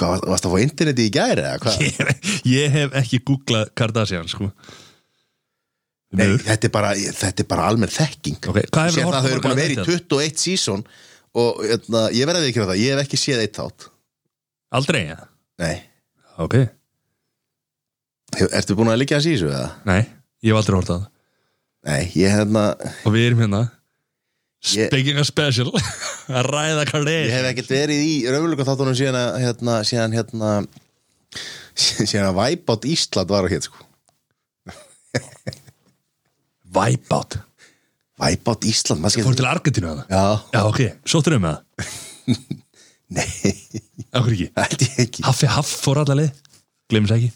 Speaker 1: Hvað, var- varstu að fá interneti í gæri eða? Hvað?
Speaker 2: ég, ég hef ekki googlað Kardashian sko.
Speaker 1: Nei,
Speaker 2: Miður.
Speaker 1: þetta er bara, þetta er bara almenn þekking
Speaker 2: Ok,
Speaker 1: Sér
Speaker 2: hvað hefur
Speaker 1: það að þau eru búin að vera í
Speaker 2: þetta?
Speaker 1: 21 sísón og jötna, ég verði ekki að það, ég hef ekki séð eitt þátt
Speaker 2: Aldrei, ja
Speaker 1: Nei,
Speaker 2: Ok,
Speaker 1: Hef- ertu búin að liggja að sísu eða?
Speaker 2: nei, ég hef aldrei hort að það
Speaker 1: Nei, ég hérna
Speaker 2: Og við erum hérna
Speaker 1: Ég-
Speaker 2: Speaking of special Að ræða
Speaker 1: Ég
Speaker 2: Kardashian
Speaker 1: hef ekkert verið í raunvöldlega þáttunum síðan að hérna, síðan hérna síðan að Væbátt Ísland var að hér sko.
Speaker 2: Wipeout
Speaker 1: Væbátt Ísland, maður
Speaker 2: Fór
Speaker 1: skemmt
Speaker 2: til Argentínu að það
Speaker 1: Já,
Speaker 2: Já, ok, sóttur um með það
Speaker 1: nei,
Speaker 2: Akkur ekki
Speaker 1: held ég ekki
Speaker 2: Haffi Haff fór allar leið Gleimis ekki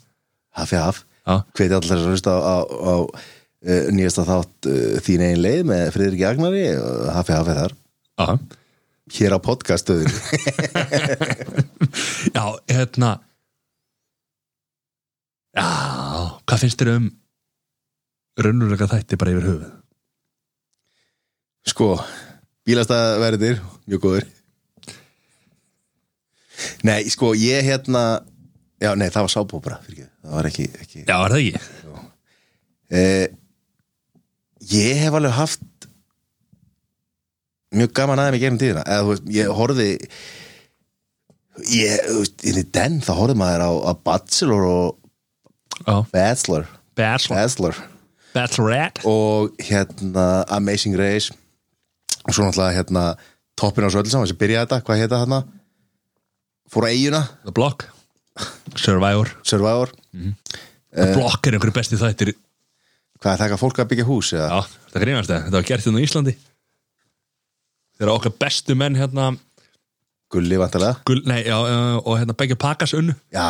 Speaker 1: Hafi haf,
Speaker 2: Já,
Speaker 1: hveti allar þess að hlusta á, á, á uh, nýjasta þátt uh, þín einn leið með Friðrik Agnari eh, og Hafi haf er þar
Speaker 2: já
Speaker 1: hér á podcastöðinu
Speaker 2: Já, hérna Já, hvað finnst þér um Rönnurlega þætti bara yfir höfuð
Speaker 1: Sko, bílastæðverðir mjög góður Nei, sko, ég hérna Já, nei, það var sábóbra, fyrir ekki Það var ekki, ekki
Speaker 2: Já, er það ekki?
Speaker 1: Eh, ég hef alveg haft mjög gaman aðeim í gegnum tíðina eða þú veist, ég horfði ég, þú veist, inn í den þá horfði maður á, á Bachelor og
Speaker 2: Já.
Speaker 1: Bachelor
Speaker 2: Bachelor,
Speaker 1: Bachelor
Speaker 2: Bachelorette
Speaker 1: og hérna Amazing Race og svo náttúrulega hérna toppin á svo öll saman sem byrjaði þetta, hvað heita þarna fór á eiguna,
Speaker 2: The Block Survivor
Speaker 1: Survivor Eh.
Speaker 2: The Block er einhverju besti þættir
Speaker 1: hvað er taka fólk að byggja hús eða
Speaker 2: Já, þetta grínast það, þetta var gert hérna á Íslandi Þegar okkar bestu menn hérna
Speaker 1: gulli vantarlega,
Speaker 2: Gull, nei, já, uh, og hérna Beggi Pakas unnu
Speaker 1: já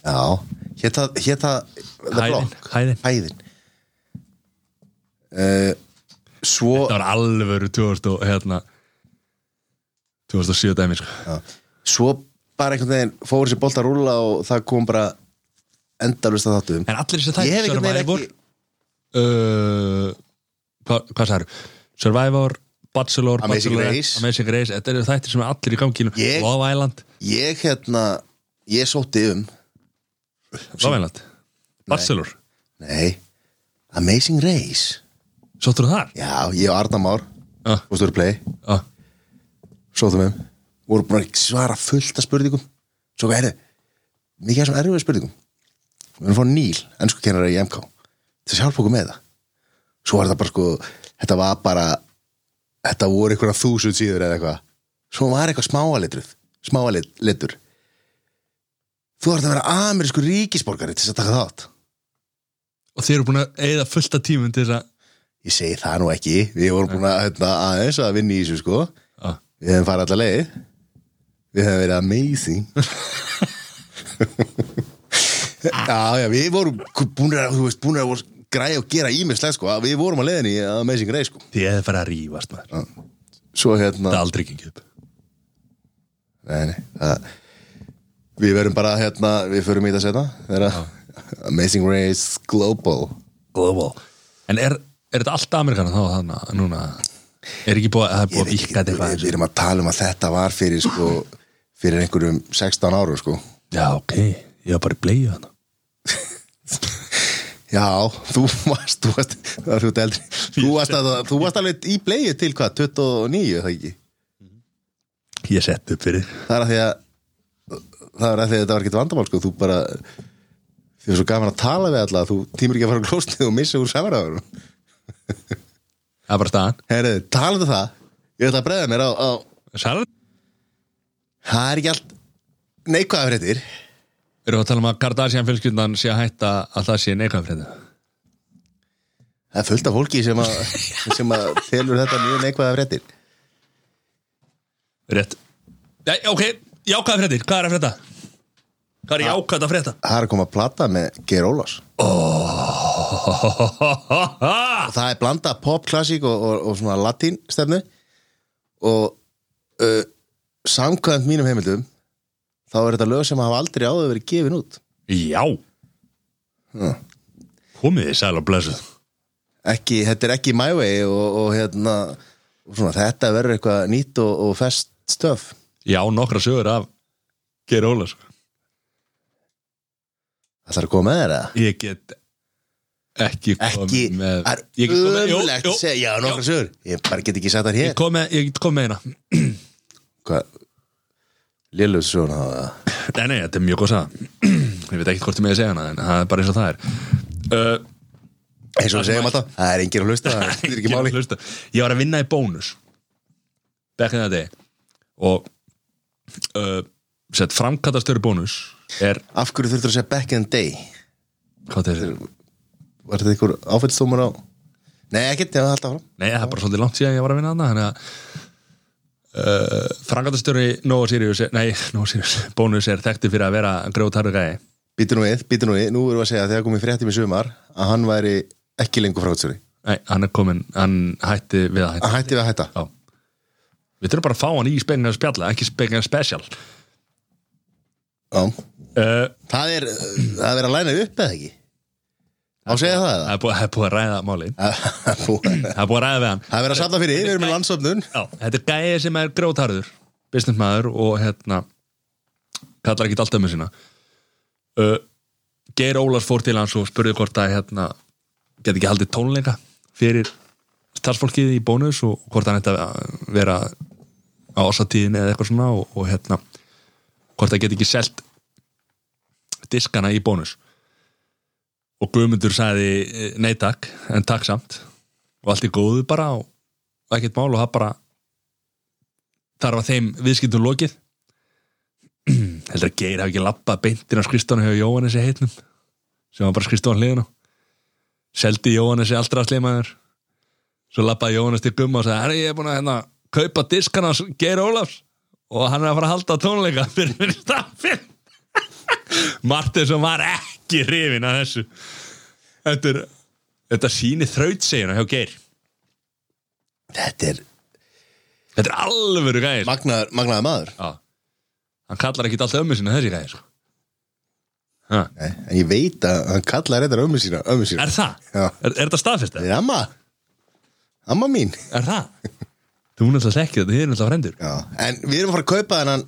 Speaker 1: já, hétta hétta The
Speaker 2: Hæðin,
Speaker 1: Block,
Speaker 2: hæðin
Speaker 1: hæðin uh, svo
Speaker 2: Það var alvöru 2000 og hérna 2007 dæmi sko.
Speaker 1: já, svo bara einhvern veginn fór þessi bolt að rúla og það kom bara endalvist að þáttum
Speaker 2: En allir þessi
Speaker 1: ég
Speaker 2: þættir
Speaker 1: hef einhvern veginn ekki
Speaker 2: Survivor uh, hva, Hvað sagður? Survivor, Bachelor,
Speaker 1: Amazing
Speaker 2: Bachelorette,
Speaker 1: Race.
Speaker 2: Amazing Race Þetta eru þættir sem er allir í ganginu
Speaker 1: Ég-
Speaker 2: Love Island
Speaker 1: ég hérna, ég sótti um
Speaker 2: Love Island Bachelor
Speaker 1: nei, Amazing Race
Speaker 2: Sóttur þar?
Speaker 1: já, ég og Arna Már
Speaker 2: Já,
Speaker 1: og Stur Play,
Speaker 2: já
Speaker 1: sóttum um voru búin að svara fullt af spurningum svo hvað er þið, mikið af þessum erfið spurningum við erum fór Níl, ennsku í MK til að hjálpa okkur með það svo var þetta bara sko, þetta var bara þetta voru einhverja þúsund síður eða eitthvað, svo var eitthvað smáalitruð smáalitur þú þarf að vera amerísku ríkisborgari til þess að taka þátt
Speaker 2: Og þeir eru búin að eigða fullta tímum til þess að
Speaker 1: Ég segi það nú ekki, við vorum búin að hérna, aðeins að vinna í þessu sko
Speaker 2: Já.
Speaker 1: Við hefum farið allar leið Við hefum verið amazing Já, já, við vorum búin að, þú veist, búin að voru græja og gera ímislega sko Við vorum að leiðin í amazing reið sko
Speaker 2: Þið eða fara að rífast maður Það
Speaker 1: Svo hérna
Speaker 2: er aldrei gengið upp
Speaker 1: nei, nei, það, Við verum bara hérna, við förum í þetta setna Þeirra Amazing Race Global
Speaker 2: Global En er, er þetta allt Amerikana þá þannig að núna Er ekki búið að, það er búið
Speaker 1: Ég
Speaker 2: að
Speaker 1: veit
Speaker 2: vikka
Speaker 1: ekki,
Speaker 2: þetta
Speaker 1: við,
Speaker 2: eitthvað
Speaker 1: við erum að tala um að þetta var fyrir sko Fyrir einhverjum 16 árum sko
Speaker 2: Já, ok, ég var bara í bleið hann
Speaker 1: Já, þú varst, þú varst, það er út eldri Þú varst, að, þú varst alveg í bleið til hvað, 29, er það ekki
Speaker 2: Ég sett upp fyrir
Speaker 1: Það er að því að Það er að því að þetta var ekkert vandamál, sko Þú bara, þið er svo gaman að tala við alla Þú tímur ekki að fara á klóstið og missa úr samræðurum
Speaker 2: Það er bara staðan
Speaker 1: Herðu, talaðu það Ég ætla að breyða mér á, á
Speaker 2: Sælan
Speaker 1: Það er ekki allt neikvæða fréttir
Speaker 2: Erum við að tala um að Kardashian fjölskyldan sé að hætta að það sé neikvæð fyrir þetta
Speaker 1: Það er fullt af fólki sem að, sem að telur þetta mjög neikvæða fréttir
Speaker 2: Rétt Nei, ok, jákvæð fyrir þetta, hvað er að frétta? Hvað er jákvæð að frétta?
Speaker 1: Það er að koma að plata með Geir Ólafs
Speaker 2: Ah,
Speaker 1: það er blanda af pop, klassík og, og, og svona latín stefnu og uh, samkvæmt mínum heimildum þá er þetta lög sem hafa aldrei áður verið gefin út
Speaker 2: Já Komið þið sæl og blessuð
Speaker 1: ekki, þetta er ekki My Way og, og hérna og svona, þetta verður eitthvað nýtt og, og fest stöf
Speaker 2: Já, nokkra sögur af Geir Ólafs
Speaker 1: Það þarf að koma með þér eða?
Speaker 2: Ég get ekki komið
Speaker 1: Ekki,
Speaker 2: með
Speaker 1: það
Speaker 2: Ég
Speaker 1: er
Speaker 2: get komið- jú,
Speaker 1: umlegt
Speaker 2: jú,
Speaker 1: að segja, já, nokkra sögur Ég bara get ekki sagt þar
Speaker 2: Ég
Speaker 1: hér
Speaker 2: kom með, ég kom með hérna
Speaker 1: Hvað, lélugur söguna á það
Speaker 2: Nei, nei, þetta er mjög góð saga Ég veit ekki hvort ég með að segja hana En það er bara eins og það er uh,
Speaker 1: Eins og við segjum alltaf, það er enginn að hlusta, það er ekki máli
Speaker 2: Ég hlusta. Ég var að vinna í bónus Back in the day Og uh, sett framkattastöru bónus Er,
Speaker 1: Af hverju þurftur að segja back in the day?
Speaker 2: hvað þetta er
Speaker 1: var þetta einhver áfættstómur á Nei, ekkert, ég var alltaf fram
Speaker 2: Nei, það er bara svolítið langt síðan ég var að vinna þarna Þannig að uh, Framkattastöru Nóa Sirius er, Nei, Nóa Sirius Bónus er þekkti fyrir að vera grjótarðu gæði
Speaker 1: Býtu nú við, býtu nú við, nú erum við að segja að þegar komið fréttum í sumar að hann væri ekki lengur frátsöri
Speaker 2: Nei, hann er komin, hann hætti við að hætta
Speaker 1: Hann hætti við að hætta
Speaker 2: Já Við þurfum bara að fá hann í spengan spjalla, ekki spengan special
Speaker 1: Já.
Speaker 2: uh,
Speaker 1: Það er, uh, það er að læna upp eða ekki Á segja það
Speaker 2: Það er búið, það er búið að ræða málin
Speaker 1: eða?
Speaker 2: Það er búið að ræða við hann
Speaker 1: Það er verið að safna fyrir, við erum með landsöfnun
Speaker 2: Já, þetta er gæði sem er grótarður businessmaður og hérna kallar ekki alltaf með sína uh, Geir Ólars fór til hans og spurði hvort að hérna get ekki haldið tónleika fyrir starfsfólkið í bónus og hvort hann ætti að vera á ásatíðinni eða eitthvað svona og, og hérna hvort það get ekki selt diskana í bónus og Guðmundur sagði eh, nei takk, en takk samt og allt er góðu bara og og ekkert mál og það bara þar var þeim viðskiptum lokið heldur að Geir hafi ekki lappað beintin á skrifstofan hjá Jóhannes í heitnum sem var bara skrifstofan hliðin á seldi Jóhannes í allra slimaður svo lappaði Jóhannes til gumma og sagði herri ég er búin að hérna kaupa diskan hans Geir Ólafs og hann er að fara að halda tónleika fyrir staffin Martinsson var ekki hrifin að þessu þetta, er, þetta síni þrautsegina hjá Geir
Speaker 1: Þetta er
Speaker 2: þetta er alvöru gæðir
Speaker 1: magnaður, magnaður maður
Speaker 2: Já. Hann kallar ekki alltaf ömmu sinna þessi gæði, sko. Ha.
Speaker 1: Nei, En ég veit að hann kallar þetta ömmu sína Ömmu sína
Speaker 2: Er það?
Speaker 1: Já.
Speaker 2: Er, er það staðfesta?
Speaker 1: Þetta er amma Amma mín
Speaker 2: Er það? Þú náttúrulega þekkið þetta, þið erum náttúrulega frendur.
Speaker 1: Já. En við erum að fara að kaupa þennan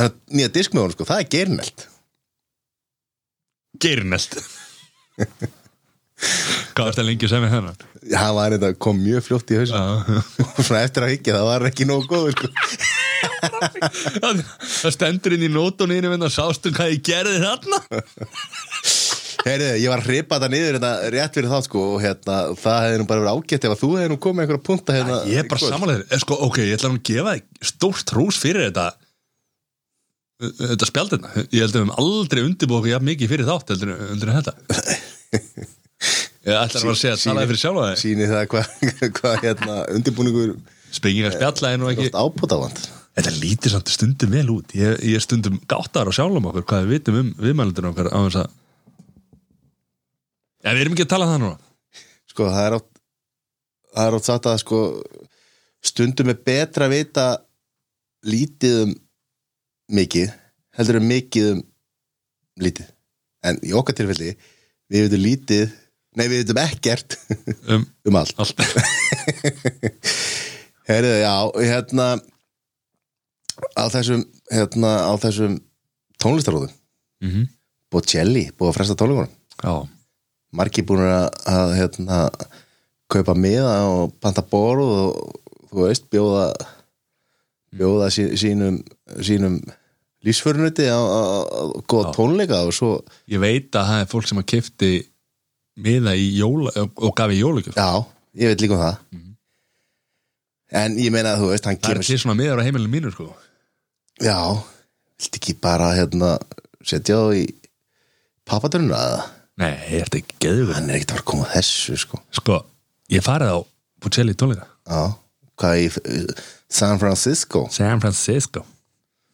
Speaker 1: þennan nýja disk með honum sko, það er gerinelt
Speaker 2: Geirnelt. Hvað er þetta lengi sem er hennan?
Speaker 1: Það var þetta kom mjög fljótt í haus Svona eftir að higgja, það var ekki nógu góð sko.
Speaker 2: Það það stendur inn í nótuninu en það sástu hvað ég gerði þarna.
Speaker 1: Heyrðu, ég var að hripa þetta niður þetta rétt fyrir þá sko, og hérna, það hefði nú bara verið ágætt ef að þú hefði nú komið einhverja punta hérna,
Speaker 2: Ég er bara
Speaker 1: sko.
Speaker 2: samanlega, eh, sko, ok, ég ætla nú að gefa þig stórt hrós fyrir þetta eh, þetta spjaldina. Ég held að við höfum aldrei undirbúið okkur jafn mikið fyrir þátt heldur en heldur en þetta. Ég ætla bara að segja að
Speaker 1: Sýnir-
Speaker 2: talaði fyrir sjálfa þig.
Speaker 1: Sýnir það hvað hva, hérna, undirbúningur
Speaker 2: Spengið að spjalla er nú ekki
Speaker 1: ábútavand
Speaker 2: Þetta lítir samt stundum vel út Ég, ég er stundum gáttar á sjálfum okkur hvað við vitum um viðmælundinu okkar á þess að Já, við erum ekki að tala um það núna
Speaker 1: sko það er átt það er átt satt að sko stundum er betra að vita lítið um mikið, heldur um mikið um lítið en í okkar tilfelli, við veitum lítið nei við veitum ekkert
Speaker 2: um
Speaker 1: um allt
Speaker 2: allt
Speaker 1: Herðu, já, hérna á þessum hérna á þessum tónlistaróðum
Speaker 2: mm
Speaker 1: Bocelli, búið að fresta tónleikunum
Speaker 2: Já,
Speaker 1: margir búin að, að hérna, kaupa miða og panta borð og þú veist, bjóða bjóða sí, sínum sínum lífsförunuti á, á, á góða
Speaker 2: Já.
Speaker 1: tónleika og svo,
Speaker 2: ég veit að það er fólk sem að kefti miða í jóla og gaf í jólugjöf
Speaker 1: já, ég veit líka um það en ég meina að þú veist, hann
Speaker 2: Mhm. Það er
Speaker 1: kemur,
Speaker 2: til svona miðar á heimilinu mínu sko
Speaker 1: já vilt ekki bara hérna setja þá í pappadurinn að
Speaker 2: Nei, ég ert ekki geðugur
Speaker 1: hann er ekkert að fara að koma að þessu sko,
Speaker 2: Sko, ég farið á Bocelli tónleika
Speaker 1: já, hvað í eh, San Francisco
Speaker 2: San Francisco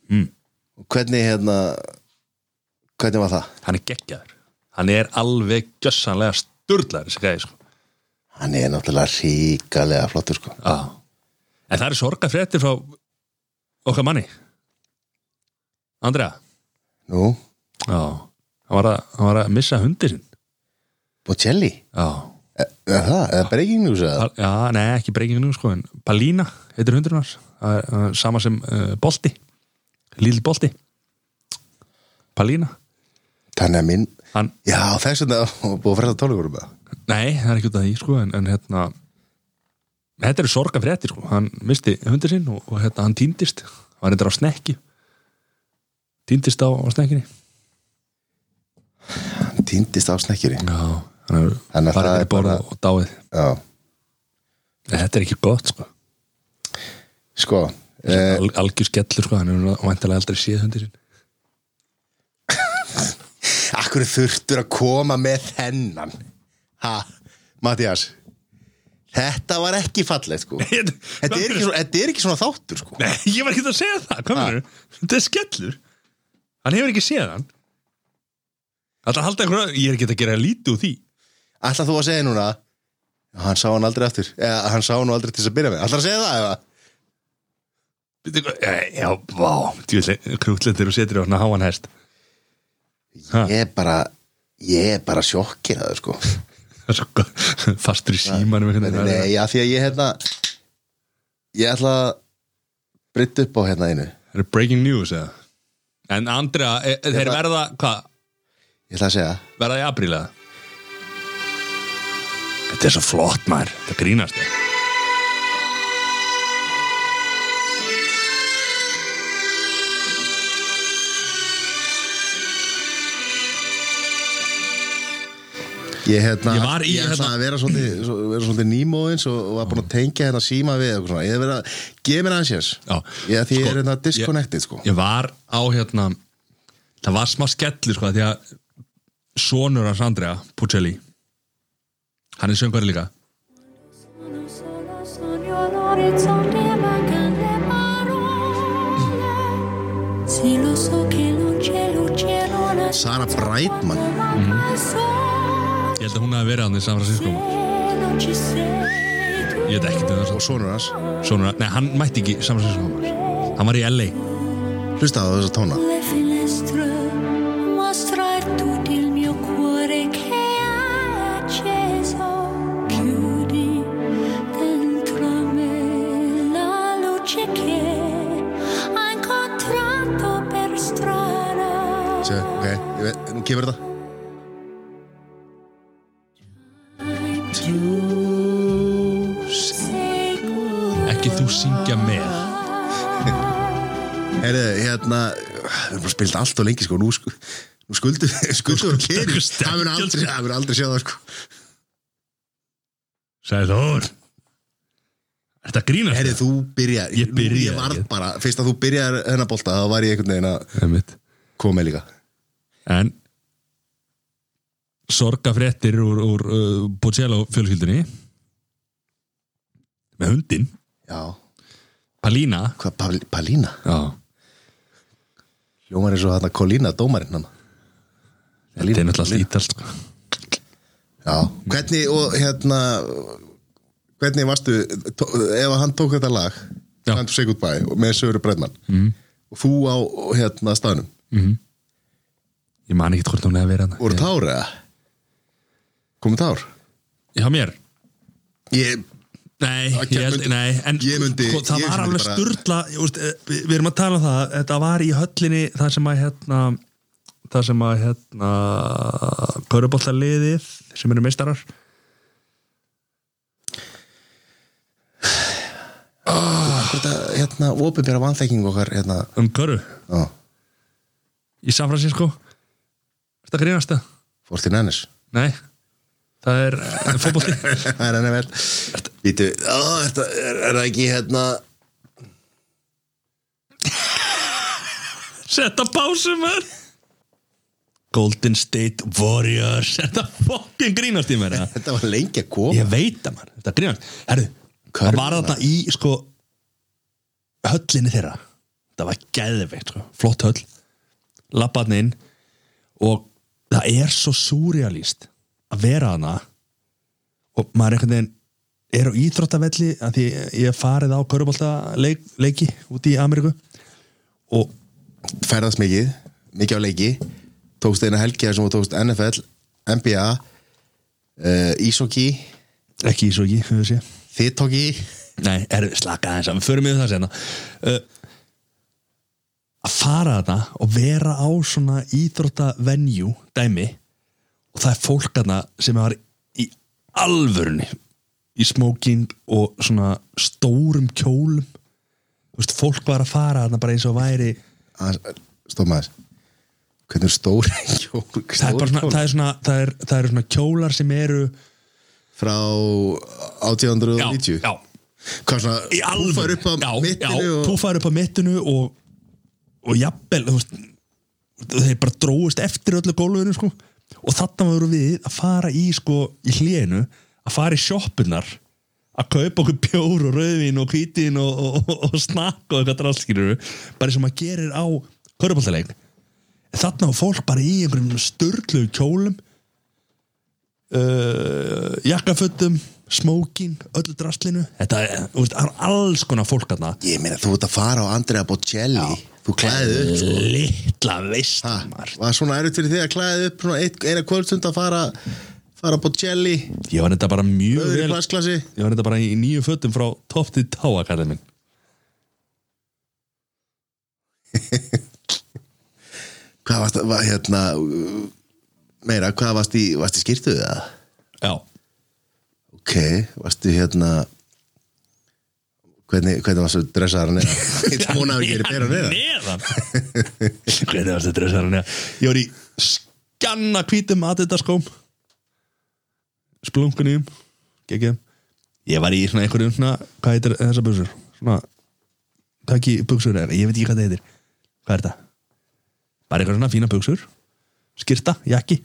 Speaker 1: hvernig hérna hvernig var það?
Speaker 2: Hann er geggjaður Hann er alveg gjössanlega sturlaður þessi gæði sko
Speaker 1: Hann er náttúrulega ríkalega flottur sko
Speaker 2: Já. En það eru sorgafréttir frá okkar manni Andrea
Speaker 1: Nú,
Speaker 2: Já Hann var að, hann var að missa hundi sinn
Speaker 1: Bocelli
Speaker 2: Já
Speaker 1: Er er það? Er það breaking news eða?
Speaker 2: Pal, Já, nei, ekki breykingin nú sko en Palína heitir hundurinn hans Það er, uh, Sama sem uh, Bolti Líl Bolti Palína
Speaker 1: Þannig að minn
Speaker 2: hann,
Speaker 1: Já, þess vegna og búið að fræða tónleikur um það
Speaker 2: Nei, það er ekki út af því sko en, en hérna Þetta eru sorgafréttir sko Hann misti hundur sinn og, og hérna, hann týndist Hann var reyndar á snekki Týndist á, á snekkinni
Speaker 1: Hann týndist á snekkjuri
Speaker 2: Já, hann
Speaker 1: Þannig
Speaker 2: er
Speaker 1: að
Speaker 2: bara
Speaker 1: það er
Speaker 2: að borða
Speaker 1: bara-
Speaker 2: og dáið
Speaker 1: Já,
Speaker 2: En þetta er ekki gott, sko
Speaker 1: sko eh,
Speaker 2: Al, Algjör skellur, sko, hann er vantilega aldrei séð hundir sinn
Speaker 1: Akkur þurftur að koma með þennan Ha, Mattias Þetta var ekki fallegt sko Þetta er ekki svona, þetta er ekki svona þáttur sko
Speaker 2: Nei, ég var ekki að segja það, hvað
Speaker 1: Ha?
Speaker 2: mennur Þetta er skellur Hann hefur ekki séð hann Þetta halda einhverja, ég er ekki að gera lítið úr því
Speaker 1: Ætlar þú að segja núna Hann sá hann aldrei aftur Eða hann sá hann nú aldrei til þess að byrja með Ætlar að segja það eða?
Speaker 2: Veitu hvað, eh, Já, vá, djúlega Krútlendir og setur á hann að háan hest Ha.
Speaker 1: Ég er bara Ég er bara sjokkir að það sko
Speaker 2: Það er svo gott, Fastur í símanum einhvern
Speaker 1: Nei,
Speaker 2: veginn.
Speaker 1: nei, já, því að ég hérna Ég ætla að Brytta upp á hérna einu Ég
Speaker 2: Það er breaking news, eða En Andrea,
Speaker 1: Hérna-
Speaker 2: eh, þeir
Speaker 1: ætla-
Speaker 2: verða, hvað
Speaker 1: ætla að segja
Speaker 2: Verða í aprílega Þetta er svo flott maður Þetta grínast þér
Speaker 1: Ég, hérna,
Speaker 2: Ég var í
Speaker 1: ég ætlaði
Speaker 2: hérna-
Speaker 1: að vera svolítið, svo- vera svolítið nýmóðins og, og var búin að tengja hérna síma við eitthvað svona. Ég hef verið að, gef mér aðeins hér.
Speaker 2: Já.
Speaker 1: Ég, því ég
Speaker 2: Sko,
Speaker 1: er hérna disconnected, sko.
Speaker 2: Ég var á hérna Það var smá skellur sko Því að sonur hans Andrea Puccelli Hann er söngvari líka
Speaker 3: Sono solo sogno all'orizzonte mancano le parole Sì lo so che non c'è luce non ha
Speaker 1: Sara Brightman.
Speaker 3: manca il sole
Speaker 2: Ég held að hún hafi verið hann í San Francisco
Speaker 1: Mhm.
Speaker 3: non ci sei tu
Speaker 2: Ég veit um ekki til
Speaker 1: Og
Speaker 2: þess
Speaker 1: sonur hans,
Speaker 2: Sonur, nei, hann mætti ekki í San Francisco maður. Hann var í LA
Speaker 1: hlusta á þessa tóna.
Speaker 3: le finestre mostra tutto il mio cuore che è acceso chiudi dentro me la luce che ho incontrato per strada
Speaker 1: Sér, ok, ég veit, nú kemur þetta.
Speaker 2: Ekki þú syngja með
Speaker 1: Heyrðu, hérna, við erum bara spilt allt og lengi, sko. Nú, sku, nú skuldum við, skuldum við kynir.
Speaker 2: okkur
Speaker 1: Það mun aldrei, það mun aldrei sjá það, sko.
Speaker 2: Sæði Þór Þetta grínast
Speaker 1: Heyrðu, þú byrjar.
Speaker 2: Ég byrjaði,
Speaker 1: Ég varð
Speaker 2: ég-
Speaker 1: bara, fyrst að þú byrjar hennar bolta, þá var ég einhvern veginn að
Speaker 2: Einmitt.
Speaker 1: koma með líka.
Speaker 2: En sorgafréttir úr, úr uh, Bocello fjölskyldunni með hundin
Speaker 1: Já.
Speaker 2: Palína
Speaker 1: Hvað, Pal Palína?
Speaker 2: Já.
Speaker 1: Ljómar eins og þarna Kolína, dómarinn hann.
Speaker 2: þetta er náttúrulega ítalst sko.
Speaker 1: Já, hvernig og hérna hvernig varstu tó- ef hann tók þetta lag
Speaker 2: Já.
Speaker 1: Time to say goodbye með Söru Bredman mm. og þú á hérna staðnum
Speaker 2: ég man ekki hvort hún hefði verið
Speaker 1: voru
Speaker 2: hann
Speaker 1: tár eða? komið tár?
Speaker 2: hjá mér
Speaker 1: Ég,
Speaker 2: Nei,
Speaker 1: Það
Speaker 2: ég held,
Speaker 1: myndi-
Speaker 2: nei, en
Speaker 1: ég myndi-
Speaker 2: sko, það
Speaker 1: ég
Speaker 2: var
Speaker 1: myndi
Speaker 2: alveg
Speaker 1: bara-
Speaker 2: sturla ég veist, eh, við við erum að tala um það, þetta var í höllinni það sem að hérna það sem að hérna köruboltaliðið sem eru meistarar
Speaker 1: þetta, hérna, ofinbjara vanþekking okkar hérna,
Speaker 2: um köru
Speaker 1: á,
Speaker 2: í San Francisco Þetta grínast það?
Speaker 1: Fortin Ennis
Speaker 2: Nei, það er eh, fótbolti
Speaker 1: Það er henni vel Vítu, á, þetta er, er það ekki hérna
Speaker 2: Setta básum er Golden State Warriors Þetta fokkin grínast í mér eða?
Speaker 1: Þetta var lengi að koma
Speaker 2: Ég veit það mann, þetta grínast Herru, það var þarna í sko höllinni þeirra Það var geðveikt sko, flott höll Lappaðn inn og það er svo súrealíst að vera hana og maður einhvern veginn er á íþróttavelli að því ég hef farið á körubolta leik, leiki út í Ameríku og
Speaker 1: ferðast mikið, mikið á leiki tókst eina helgi þar sem þú tókst NFL, NBA uh, Ísóki
Speaker 2: ekki í svo ekki, höfðu sé
Speaker 1: Þittóki
Speaker 2: Nei, er, slaka aðeins að við förum yfir það sérna uh, Að fara þarna og vera á svona íþrótta venue dæmi og það er fólk þarna sem var í alvörunni í smoking og svona stórum kjólum Þú veist, fólk var að fara þarna bara eins og væri
Speaker 1: Stopp maður Hvernig stór kjól,
Speaker 2: það er, bara
Speaker 1: stór
Speaker 2: svona, það, er svona, það, er, það eru svona kjólar sem eru
Speaker 1: frá 1890
Speaker 2: já,
Speaker 1: Hvað svona,
Speaker 2: í alvöru
Speaker 1: púffar upp á
Speaker 2: já,
Speaker 1: mittinu
Speaker 2: já,
Speaker 1: og...
Speaker 2: púfar upp á mittinu og, og jafnvel þú veist, þeir bara dróðust eftir öllu gólfinu sko. og þarna voru við að fara í sko, í hlénu, að fara í sjoppunar að kaupa okkur bjór og rauðvin og hvítin og, og, og, og snakk og eitthvað drastskýrur bara sem maður gerir á köruboltaleik þarna var fólk bara í einhverjum störlu kjólum uh, jakkafötum smoking, öllu drastlinu þetta er, þú veist, það er alls konar fólk þarna
Speaker 1: Ég meina, þú ert að fara á Andrea Bocelli Þú klæðið upp sko.
Speaker 2: litla
Speaker 1: Ha,
Speaker 2: veistumar
Speaker 1: Var svona erut fyrir þig að klæðið upp svona eitt, eina kvöldstund að fara fara á Bocelli,
Speaker 2: ég var þetta bara mjög
Speaker 1: öðru
Speaker 2: vel
Speaker 1: klassklasi
Speaker 2: ég var þetta bara í nýju fötum frá topp til táa kallið minn
Speaker 1: Hvað varst, var, hérna, uh, meira, hvað varst í, varst í skýrtu eða?
Speaker 2: já,
Speaker 1: ok, varstu hérna hvernig, hvernig varstu dressaðar hann ég tóna að við gerir bera hann
Speaker 2: neðan hvernig varst þetta dressaður neðan ég var í skanna hvítum að þetta skóm splunkunum geggjum ég var í svona einhverjum svona hvað heitir þessa buksur svona takki buksur eða ég veit ekki hvað það heitir hvað er þetta bara eitthvað svona fína buksur skyrta jakki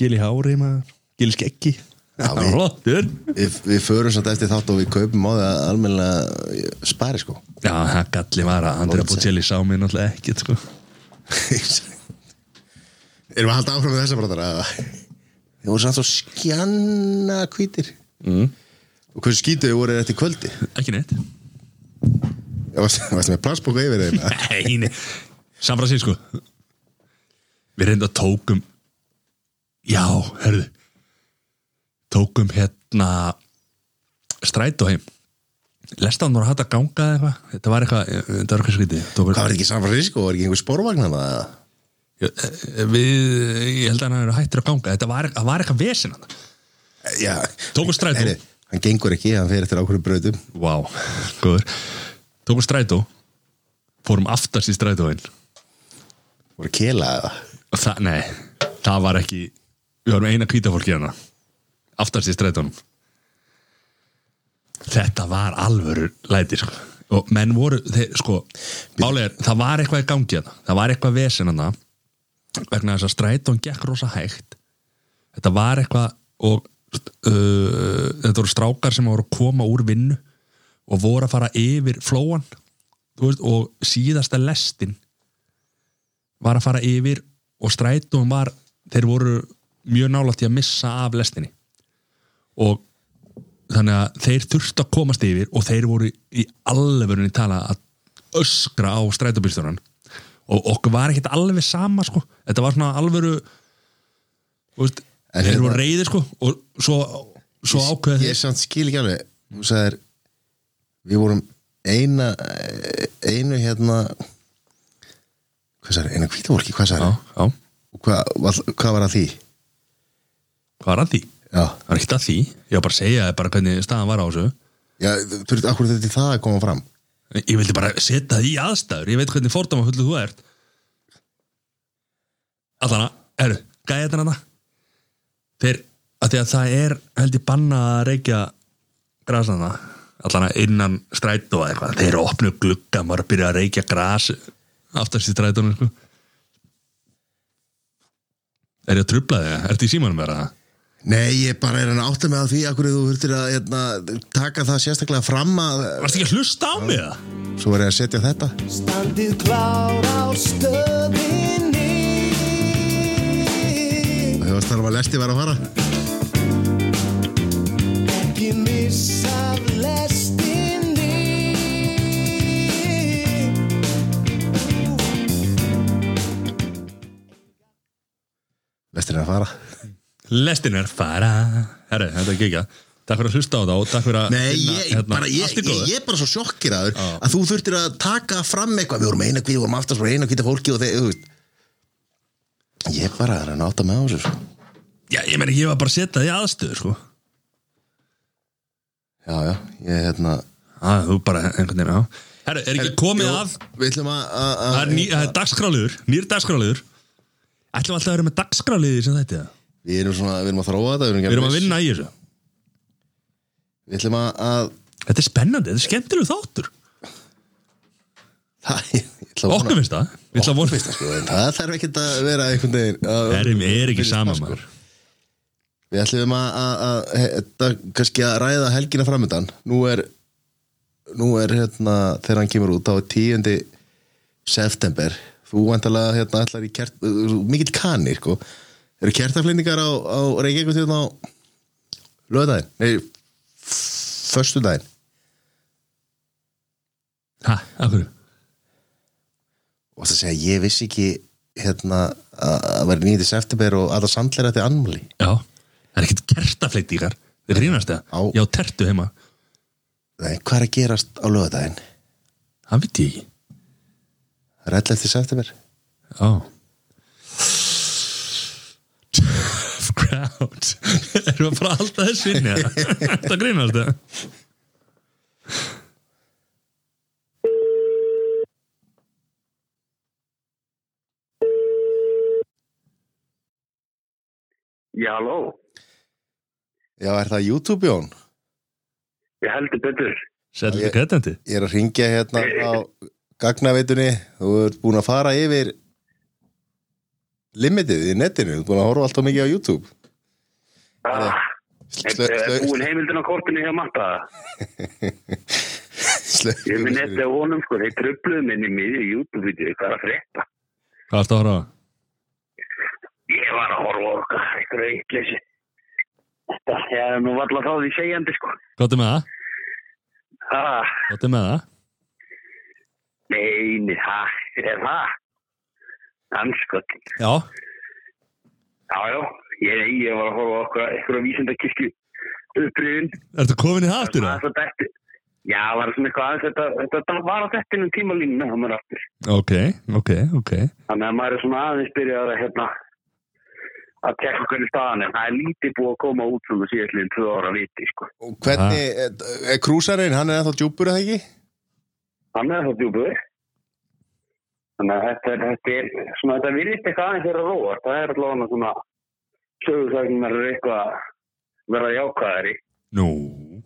Speaker 2: gil í hári maður gil í skeggi
Speaker 1: við-
Speaker 2: flottur
Speaker 1: við, við förum samt eftir þátt og við kaupum á það almennilega spari sko
Speaker 2: já það galli var að Andrea
Speaker 1: Lónsson.
Speaker 2: Bocelli sá mig náttúrulega ekkert sko
Speaker 1: erum við að halda áfram með þessa brotara eða? þeir voru samt svo skjanna hvítir mm. og hversu skítu þau voru þetta í kvöldi
Speaker 2: ekki neitt
Speaker 1: Ég varst, varst með plassbóka yfir þeim eða?
Speaker 2: Nei, nei. San Francisco Við reynda tókum Já, herðu Tókum hérna Strætó heim Lestan voru hægt að ganga eða eitthvað Þetta var eitthvað, þetta var eitthvað skrítið
Speaker 1: hvað
Speaker 2: Tókum,
Speaker 1: var ekki San Francisco, var ekki einhver spórvagnana
Speaker 2: eh, Við, ég held að hann eru hættir að ganga Þetta var, það var eitthvað vesinn hann
Speaker 1: já,
Speaker 2: Tókum strætó.
Speaker 1: Heyrðu, hann gengur ekki, hann fer eftir ákveðum brautum
Speaker 2: Vá, góður Tókum strætó Fórum aftast í strætóin
Speaker 1: voru að kela eða
Speaker 2: Og Það, nei, það var ekki Við varum eina kvítafólki hérna Aftast í strætónum Þetta var alvöru læti sko. Og menn voru, þeir, sko Málegar, það var eitthvað í gangi hérna Það var eitthvað vesen hérna Vegna þess að strætón gekk rosa hægt Þetta var eitthvað Og uh, þetta voru strákar sem voru að koma úr vinnu Og voru að fara yfir flóan Þú veist, Og síðasta lestin var að fara yfir og strætum var, þeir voru mjög nálægt í að missa af lestinni og þannig að þeir þurftu að komast yfir og þeir voru í alvörunni tala að öskra á strætóbílstjóran og okkur var ekkert alveg sama sko, þetta var svona alvöru þú veist,
Speaker 1: En
Speaker 2: þeir
Speaker 1: þetta-
Speaker 2: voru reyðir sko og svo, svo ákveða
Speaker 1: ég samt skil ekki alveg þú sagðir, við vorum eina einu hérna hvað sagði, eina hvítavólki, hvað
Speaker 2: já,
Speaker 1: sagði
Speaker 2: já,
Speaker 1: hvað, var- hvað var að því
Speaker 2: hvað var að því?
Speaker 1: já
Speaker 2: það var ekkert að því, ég var bara að segja þér bara hvernig staðan var á þessu
Speaker 1: Já, þú veist, akkur þetta er það að koma fram
Speaker 2: Ég vildi bara setja það í aðstæður Ég veit hvernig fordama fullu þú ert Allana, eru, gæði þetta hana Þeir, að því að það er held ég banna að reykja grasana Allana innan strætó eða eitthvað Þeir opnu glugga, maður að byrja að reykja gras Aftast í strætónu sko. Er ég að trubla þig? Ertu í símanum með það?
Speaker 1: Nei, ég bara er hann að átta mig á því Akkur þú þurftir að hérna, taka það sérstaklega fram að
Speaker 2: Varstu ekki að hlusta á mig það?
Speaker 1: Svo var ég að setja þetta
Speaker 4: Standið klár á stöðinni
Speaker 1: Og Þegar starfa lesti var að fara
Speaker 4: Ekki missað lestinni
Speaker 1: Lestir er að fara
Speaker 2: Lestin er fara Herri, þetta er gegja Takk fyrir að hlusta á það og takk fyrir að
Speaker 1: Nei,
Speaker 2: finna,
Speaker 1: ég, bara, ég,
Speaker 2: Hérna, allt í
Speaker 1: ég,
Speaker 2: góðu.
Speaker 1: ég er bara svo sjokkiraður Að þú þurftir að taka fram eitthvað Við vorum eina kvíð, við vorum aftast Við vorum eina kvíða fólki og þeir, þú veist Ég bara er hann að átta mig á þessu sko.
Speaker 2: Já, ég meina, ég var bara að setja því aðstöðu, sko
Speaker 1: Já, já, ég hérna
Speaker 2: Já, þú bara, einhvern veginn, já Herru, er ekki komið
Speaker 1: Jú,
Speaker 2: að
Speaker 1: Við ætlum að- að
Speaker 2: Það
Speaker 1: að-
Speaker 2: er, ný, það er dagskráliður, nýr dagskráliður Ætlum alltaf að vera með dagskráliði sem þetta
Speaker 1: Við erum svona, við erum að þróa þetta
Speaker 2: Við erum að vinna í þessu
Speaker 1: Við ætlum að, að
Speaker 2: Þetta er spennandi, þetta er skemmtilegu þáttur
Speaker 1: Það, ég ætla að vona-
Speaker 2: Okkur finnst það Við ætla að vona
Speaker 1: Sko, en Það þarf ekkert að vera einhvern veginn að-
Speaker 2: Herri, mér er ekki
Speaker 1: finnst
Speaker 2: sama
Speaker 1: það, sko.
Speaker 2: maður
Speaker 1: Við ætlum að, að, að, að, kannski að ræða helgina framöndan Nú er, nú er hérna, þegar hann kemur út á 10. september Þú vantalega hérna, ætlar í kert þú- þú- mikill kanir sko. Eru kertaflendingar á, á Reykjavík hérna á lögdæðin? Nei, föstudæðin
Speaker 2: Ha, af hverju?
Speaker 1: Og það segja, ég vissi ekki hérna, að að vera 9. september og að það sandlir þetta er anmali
Speaker 2: Já, það er ekkert kertafleitt í ykkar Þið grínast
Speaker 1: Á.
Speaker 2: það, já, tertu heima
Speaker 1: Nei, hvað er að gerast á lögdæðin?
Speaker 2: Það veit ég ekki
Speaker 1: Það er 11. september
Speaker 2: Já Jeff Graham Jones erum við bara að halda þessu inn eða? þetta grínast það
Speaker 5: Já, halló,
Speaker 1: Já, er það YouTube, Jón?
Speaker 5: ég heldur betur.
Speaker 2: Settu
Speaker 1: Já,
Speaker 2: þetta
Speaker 1: ég-
Speaker 2: kætandi
Speaker 1: Ég er að ringja hérna á gagnaveitunni Þú ert búin að fara yfir limitið í netinu Þú ert búin að horfa alltaf mikið á YouTube
Speaker 5: Ah,
Speaker 1: Slö- slö-
Speaker 5: er er
Speaker 1: slö-
Speaker 5: búin heimildin á kortinu hjá matta?
Speaker 1: slö-
Speaker 5: Ég minn eftir á honum, sko, þeir tröfluðu minni miður í YouTube-vídeó, hvað er að frétta?
Speaker 2: Hvað ertu að horfa á?
Speaker 5: Ég var að horfa á okkar, eitthvað eittleysi. Þetta, ég hef nú valla þá því segjandi, sko.
Speaker 2: Hvað er með það?
Speaker 5: Ah,
Speaker 2: Hvað er með það?
Speaker 5: nei, nei, ha, er það? Anskot.
Speaker 2: Já,
Speaker 5: Já, já, ég, ég var að horfa á okkar, eitthvað vísindakirkju upprýðin.
Speaker 2: ertu komin í það aftur það?
Speaker 5: Aðeins að detti- Já, það var svona eitthvað aðeins, þetta, þetta var að þetta innum tímalínuna, það var aftur.
Speaker 2: Ok, ok, ok
Speaker 5: Þannig að maður er svona aðeins byrjað að hérna að tekka hvernig staðan er. Það er lítið búið að koma út svona síðastliðin tvö ára viti, sko.
Speaker 1: Og Hvernig,
Speaker 2: Ah.
Speaker 1: er- er krúsarinn, hann er ennþá djúpur eða ekki?
Speaker 5: Þannig að það djúbuður. Þannig að þetta er, þetta er svona, þetta virðist eitthvað aðeins vera róa. Það er allavega svona sögursagnar eru eitthvað að verða jákvæðari.
Speaker 2: Nú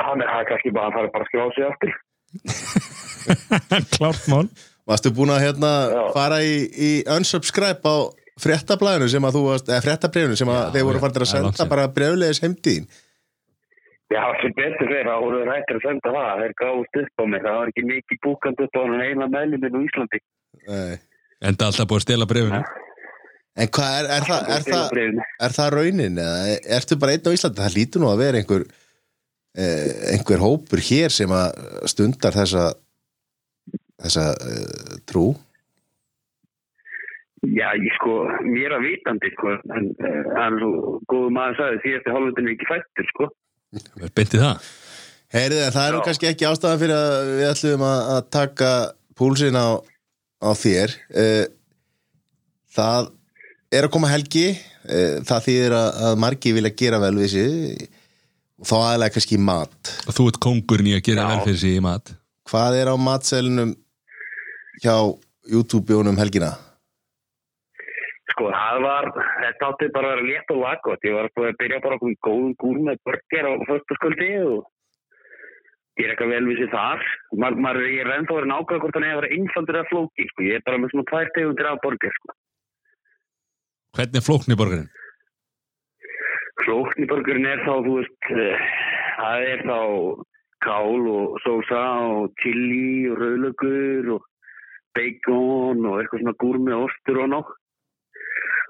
Speaker 5: Þannig að það er kannski bara að fara bara að skrá sig aftur.
Speaker 2: Klart mál
Speaker 1: Varstu búin að hérna
Speaker 5: Já.
Speaker 1: fara í, í unsubscribe á fréttablaðinu sem að þú varst, eða fréttabrefinu sem að
Speaker 2: Já,
Speaker 1: þeir voru
Speaker 2: já,
Speaker 1: farin að
Speaker 2: það er langt
Speaker 1: senda
Speaker 2: síðan.
Speaker 1: bara breflegis heimtíðin
Speaker 5: Já, sem betur fyrir að voru þeir hættir að senda það. Þeir gáðust upp á mig. Það var ekki mikið búkandi upp á hann eina meðluminn úr Íslandi.
Speaker 1: Nei.
Speaker 2: Enda alltaf búið að stela brefinu
Speaker 1: En hvað, er, er, það, er, það,
Speaker 5: Bréfinu.
Speaker 1: er það raunin eða ertu bara einn á Íslandi? Það lítur nú að vera einhver eh, einhver hópur hér sem að stundar þessa þessa eh, trú
Speaker 5: Já, ég sko, mér að vitandi, sko, en eh, hann er svo góðu maður sagði því eftir hálfundinu ekki fættur, sko.
Speaker 2: Er beint í það?
Speaker 1: Heyrið, það er nú
Speaker 5: Já.
Speaker 1: kannski ekki ástæðan fyrir að við ætlum að, að taka púlsinn á, á þér eh, Það er að koma helgi eh, það þýðir að, að margi vilja gera vel við sig og þá aðlega kannski mat
Speaker 2: Og þú ert kongurinn í að gera
Speaker 5: Já.
Speaker 2: vel fyrir sig í mat
Speaker 1: Hvað er á matselunum hjá YouTube-jónum helgina?
Speaker 5: Sko, það var, þetta átti bara að vera létt og laggótt. Ég var sko, að byrja bara okkur góðum gúr með burger á föstasköldi og gera eitthvað vel við sér þar. Ma, maður, ég er ennþá verið nákvæða hvort hann er að vera innfaldur að flóki, sko. Ég er bara með svona tvær tegundir af borger, sko.
Speaker 2: Hvernig er flóknir borgarinn?
Speaker 5: Flókniborgurinn er þá, þú veist, eh, það er þá kál og sósa og chili og rauðlögur og bacon og eitthvað svona gúr með ostur og nóg.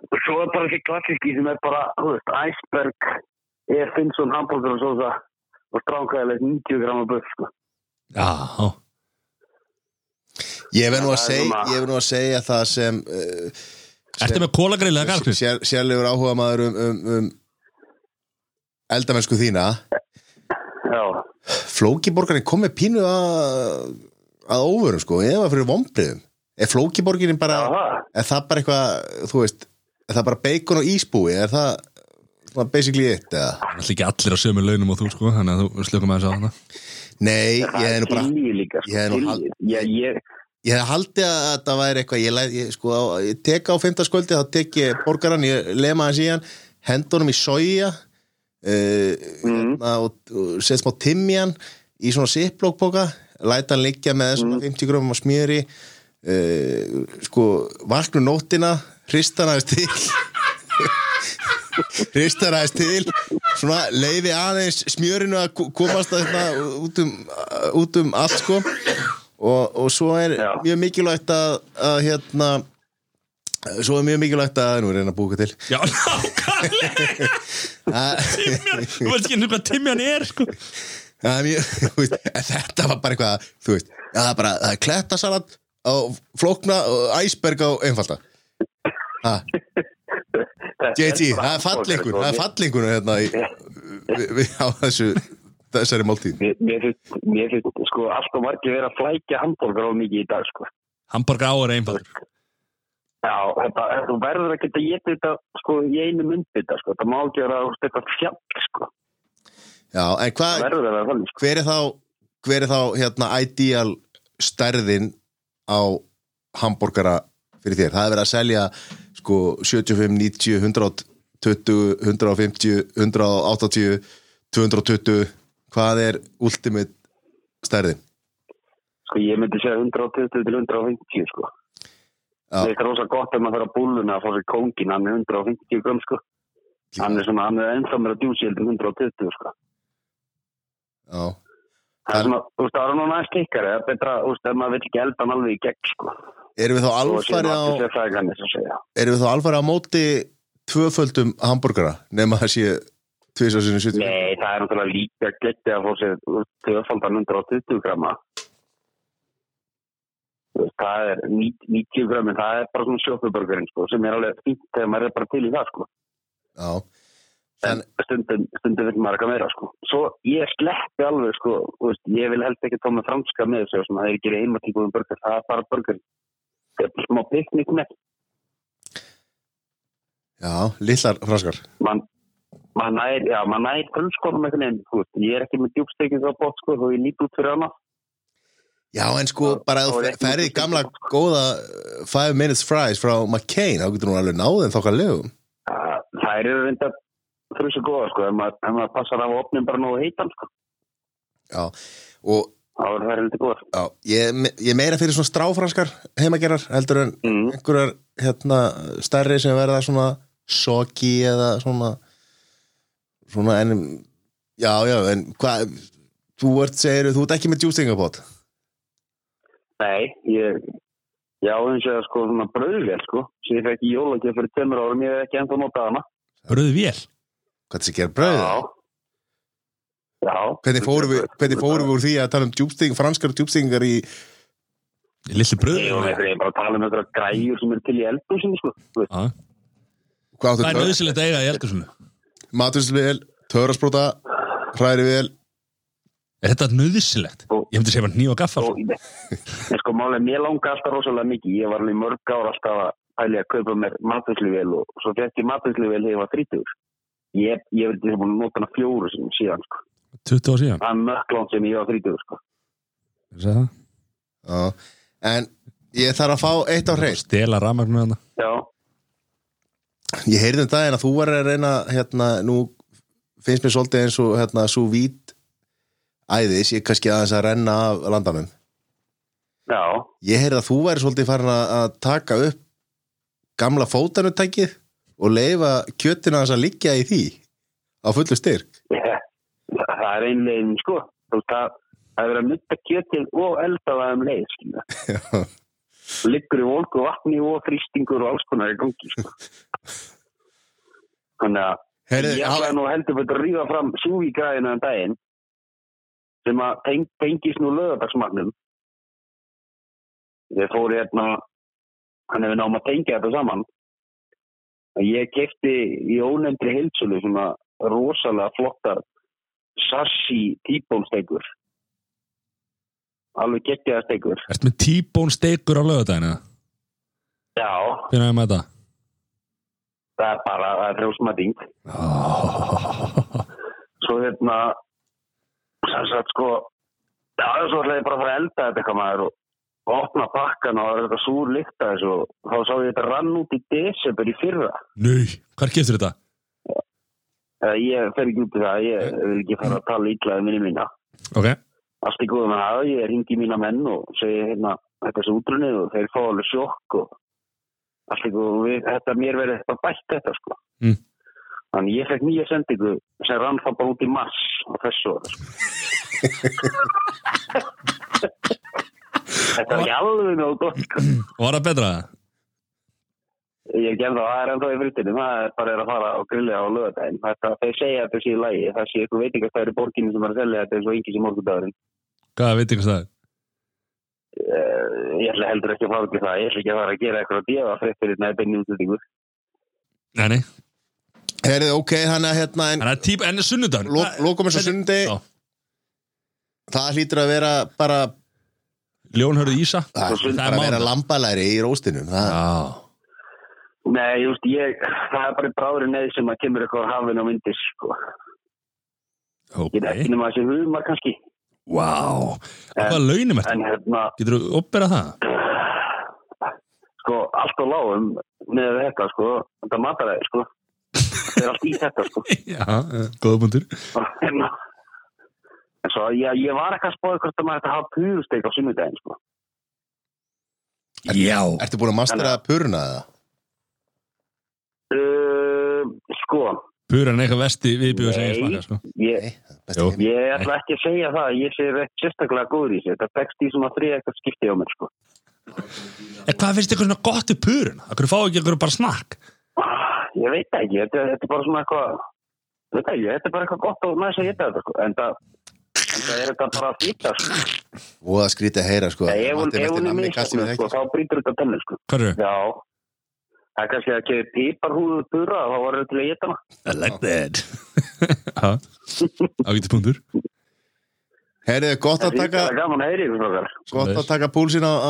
Speaker 5: Og svo er bara þessi klassíski sem er bara, þú veist, iceberg, er Finnsson hamburger og sósa og stránkæðilegt 90 grama böf, sko.
Speaker 2: Já,
Speaker 1: Ég verð nú að
Speaker 5: Það er
Speaker 1: segja,
Speaker 5: svona-
Speaker 1: ég verð nú að segja það sem uh,
Speaker 2: ertu með kólagrill eða garðkvist?
Speaker 1: sér, sérlegur áhuga maður um, um, um eldamennsku þína
Speaker 5: Já,
Speaker 1: Flókiborgarinn kom með pínu að, að óvörum sko, eða fyrir vombriðum Er flókiborgarinn bara,
Speaker 5: það það.
Speaker 1: er það bara eitthvað, þú veist er það bara bacon og ísbúi, er það svona basically it eða?
Speaker 2: Það er ekki allir á sömu launum og þú sko Þannig að þú slökum aðeins á hana
Speaker 1: Nei, ég
Speaker 5: Það
Speaker 1: hef
Speaker 5: er
Speaker 1: nú bara
Speaker 5: chili líka, sko.
Speaker 1: ég hefði nú hald-
Speaker 5: Chili. Ég, ég,
Speaker 1: Ég hef haldið að þetta væri eitthvað, ég, læ- ég, sko, á- ég tek á fymtaskvöldi, þá tek ég borgaran, ég lema hans í hann, hendunum í soja uh, hérna, og, og set smá timjan í svona sipplokkboka, læta hann liggja með svona 50 gröfum af smjöri, uh, sko, vaknu nóttina, hrista hann aðeins til, hrista hann aðeins til, svona leiði aðeins smjörinu að ko- komast að, hérna, út, um, út um allt, sko og, og svo er
Speaker 5: Já.
Speaker 1: mjög mikilvægt að, að hérna svo er mjög mikilvægt að nú er ég að reyna að búka til
Speaker 2: Já, nákvæmlega
Speaker 1: að,
Speaker 2: Timjan, þú veist ekki henni hvað timjan er sko
Speaker 1: að mjög, þú veist, en þetta var bara eitthvað þú veist, að það er bara að klettasalat á flókna og æsberg á einfalda ha, JT, það er
Speaker 5: sko.
Speaker 1: fallengur það er fallengur hérna í, við, við, á þessu þessari máltíð
Speaker 5: Mér- Mér finnst, mér finnst, sko, allt og margir vera að flækja hambúrgar á mikið í dag, sko.
Speaker 2: Hamburger á er einfaldur
Speaker 5: Já, þetta, þú verður að geta getið þetta sko í einu myndbytta sko, þetta má ekki vera þú veist, eitthvað fjall sko,
Speaker 1: Já, en
Speaker 5: það
Speaker 1: hvað,
Speaker 5: verður að vera þannig sko.
Speaker 1: hver er þá hver er þá, hérna, ideal stærðin á hambúrgara fyrir þér? Það er verið að selja sko 75, 90, 120 150, 180 220 hvað er ultimate stærðin?
Speaker 5: Sko ég myndi segja 120 til 150 sko.
Speaker 1: Já.
Speaker 5: Þetta er rosa gott ef maður þarf að búluna að fá sér kóngin, hann er 150 gram sko. Hann er svona, hann er ennþá meira djúsi heldur en 120 sko.
Speaker 1: Já,
Speaker 5: Það
Speaker 1: Það-
Speaker 5: er svona, þú veist, það er nú næst ykkar, það er betra, þú veist, ef maður vil ekki elda hann alveg í gegn sko.
Speaker 1: erum við þá
Speaker 5: Svo séu
Speaker 1: alfarið á
Speaker 5: allir sérfræðingarnir sem segja.
Speaker 1: erum við þá alfarið á móti tvöföldum hambúrgara nema það sé tvisasinu 70
Speaker 5: Nei, það er náttúrulega líka getið að fá sér tvöfaldan 120 grama. Þú veist, Það er 90 gramin, það er bara svona sjófuburgerinn sko, sem er alveg fínt þegar maður er bara til í það sko.
Speaker 1: Já,
Speaker 5: En stundum, stundum vil maður eitthvað meira sko. Svo ég sleppi alveg sko, þú veist, ég vil helst ekki tóma franska með þessu, og svona, það er ekki heimatíkuðum burger, það er bara burger. Það er bara smá piknik með,
Speaker 1: já, litlar fraskar
Speaker 5: mann Man nær, já, maður nær grunnskórum einhvern veginn, þú veist, ég er ekki með djúbstekins á bótt, sko, þó ég lít út fyrir hana.
Speaker 1: Já, en sko,
Speaker 5: Það-
Speaker 1: bara
Speaker 5: það
Speaker 1: að
Speaker 5: var
Speaker 1: þú
Speaker 5: ekki
Speaker 1: ferði
Speaker 5: mikið sko.
Speaker 1: gamla
Speaker 5: sem-
Speaker 1: góða 5 minutes fries frá McCain, þá getur hún alveg náðið þokkar lögum.
Speaker 5: Það þær eru reynda frusi góða sko, ef maður, ef maður passar af opnin bara nógu heitan sko,
Speaker 1: Já, og
Speaker 5: þá eru þær reynda góða.
Speaker 1: já, ég, ég meira fyrir svona stráfranskar heimagerar heldur en
Speaker 5: Mm.
Speaker 1: einhverjar hérna stærri sem verða svona soggy eða svona svona en já, já, en hvað þú ert, segir, þú ert ekki með djústingabót
Speaker 5: Nei, ég, ég á eins og það sko svona brauðvél sko, sem ég fekk í jólagjöf fyrir tömur árum, ég hef ekki ennþá notað hana.
Speaker 2: Bröðu vél
Speaker 1: hvað þessi gera bröð
Speaker 5: Já.
Speaker 1: hvernig fórum við, hvernig fórum við úr því að tala um djústing, franskar djústingar í
Speaker 2: Lilli bröðu
Speaker 5: Ég ég er bara að tala um eitthvað græjur sem eru til í eldhúsinu sko. þú veist.
Speaker 2: Það
Speaker 1: hvað
Speaker 2: er
Speaker 1: áttu tör,
Speaker 2: nöðsilegt að eiga í Elgarsunu
Speaker 1: matursvél, töraspróta hræri vel,
Speaker 2: Er þetta nöðsilegt? Ég myndi segja bara nýja og gaffal
Speaker 5: Og, en sko málega, mér langa alltaf rosalega mikið, ég var alveg í mörg ára alltaf að pæli að kaupa mér matvæsluvél og svo fekk ég matvæsluvél þegar ég var 30. Ég, ég vildi sem búin að nota hana fjóru sem síðan sko.
Speaker 2: 20 ára síðan
Speaker 5: Það er mökklant sem ég var 30 sko.
Speaker 2: Sagði það?
Speaker 1: já, en ég þarf að fá eitt á hreist
Speaker 2: Stela rafmagnu hana
Speaker 5: Já,
Speaker 1: Ég heyrði um daginn að þú var að reyna hérna, nú finnst mér svolítið eins og hérna, svo vít æðis, ég er kannski aðeins að renna af landanum.
Speaker 5: já,
Speaker 1: Ég heyrði að þú væri svolítið farin að að taka upp gamla fótanutækið og leifa kjötina þess að liggja í því á fullu styrk.
Speaker 5: Ég- það það er einlegin sko. Þú veist, Það, það er verið að nutta kjötið og elda það um leið skilja.
Speaker 1: Já.
Speaker 5: Liggur í volku vatni og þrýstingur og alls konar í gangi sko. Þannig að
Speaker 1: Heyrðu,
Speaker 5: ég ætlaði nú heldur betur að ríða fram súvígræðina en daginn sem að teng, tengist nú lögadagsmagnum ég fór hérna hann hefur náum að tengja þetta saman að ég kefti í ónefndri heilsölu svona rosalega flottar sashi tíbónstegur alveg geggjaða stegur
Speaker 2: Ertu með tíbón steikur á lögadaginu?
Speaker 5: já,
Speaker 2: Hvernig er með þetta?
Speaker 5: það er bara það er rjósmating
Speaker 2: Oh.
Speaker 5: svo hérna sem sagt sko já, svo ætlaði ég bara að fara að elda þetta eitthvað maður og og opna pakkan og það var þetta súr lykt að þessu og þá sá ég þetta rann út í desember í fyrra
Speaker 2: Nei, hvar keftur þetta?
Speaker 5: eða ég fer ekki út í það, ég vil ekki fara að tala ítlaði minni mína
Speaker 2: Ok,
Speaker 5: allt í góðum en að ég ringi mína menn og segi hérna þetta er svo útrunnið og þeir fá alveg sjokk og allt í góðum við, þetta mér verið eitthvað bætt þetta sko
Speaker 2: Mm.
Speaker 5: þannig ég fekk nýja sendingu sem rann það bara út í mars á þessu ári sko. þetta er ekki alveg nóg gott sko.
Speaker 2: var það betra?
Speaker 5: ég er ekki ennþá, það er ennþá í fritinu það er bara er að fara og grilla á lögadaginn þetta, þeir segja að þetta sé í lagi það sé eitthvað veitingastæður í borginni sem er að selja þetta eins og yngi sem morgundagurinn
Speaker 2: Hvað veit ykkur það?
Speaker 5: Eh, ég ætla heldur ekki að fara út í það ég ætla ekki að fara að gera eitthvað að djöfa fréttir þetta er beinni útlendingur
Speaker 2: Nei, nei,
Speaker 1: heyrðu, ok, þannig að hérna, en
Speaker 2: en það er tíb, en sunnudagur
Speaker 1: lo- lokum eins og sundi,
Speaker 2: Já.
Speaker 1: það hlýtur að vera bara,
Speaker 2: Ljón hörðu Ísa
Speaker 1: það
Speaker 5: Og
Speaker 1: hlýtur
Speaker 5: sunnudag
Speaker 1: bara að vera
Speaker 2: mánudag.
Speaker 1: lambalæri í róstinum. Það,
Speaker 2: Já
Speaker 5: Nei, just, ég, það er bara bráðurinn eða sem að kemur eitthvað á hafin á myndis sko.
Speaker 2: Ok,
Speaker 5: Ég er ekki nema þessi humar kannski
Speaker 2: wow Hvaða launum ertu?
Speaker 5: En hérna,
Speaker 2: Getur þú uppberað það?
Speaker 5: sko, allt á lágum með þetta, sko, þetta mataræði, sko Það er allt í þetta, sko
Speaker 2: Já, eh, góða punktur
Speaker 5: Og hérna En svo, ég, ég var ekki að spáði hvort að maður ætti að hafa púðusteik á sunnudaginn, sko
Speaker 2: Já
Speaker 1: Ertu búin að mastera að purna það?
Speaker 5: uh, Sko,
Speaker 2: Puran eitthvað vesti viðbjöðu sem ég
Speaker 5: Nei.
Speaker 2: smaka sko.
Speaker 5: ég,
Speaker 1: Nei, það er best í
Speaker 2: Jú.
Speaker 1: heimi.
Speaker 5: ég ætla ekki að segja það Ég sé ekki sérstaklega góður í þessu Þetta tekst í svona þrið eitthvað skipti á mér, sko
Speaker 2: En hvað finnst ykkur svona gott í purun? Akkur fá ekki ykkur bara snakk
Speaker 5: Ég veit ekki, þetta, þetta er bara svona eitthvað ég veit ekki, þetta er bara eitthvað gott og næst að geta þetta sko. en það en það er þetta bara að fýta sko.
Speaker 1: Voða skrítið að heyra sko
Speaker 5: Nei, ef hún,
Speaker 1: Matti,
Speaker 5: ef
Speaker 1: Matti,
Speaker 5: hún er
Speaker 1: nammi, kasti mér
Speaker 5: misjöfn sko,
Speaker 1: ekki,
Speaker 5: þá brýtur þetta tenni sko.
Speaker 2: Hvað eru?
Speaker 5: já, það er kannski að gefa píparhúðu pura, þá var þetta til að geta hana
Speaker 2: I like that Já, ágættu punktur
Speaker 1: Herðu, gott
Speaker 5: það
Speaker 1: að
Speaker 5: er
Speaker 1: taka
Speaker 5: þetta gaman að heyri ykkur frákar
Speaker 1: gott að taka púlsinn á, á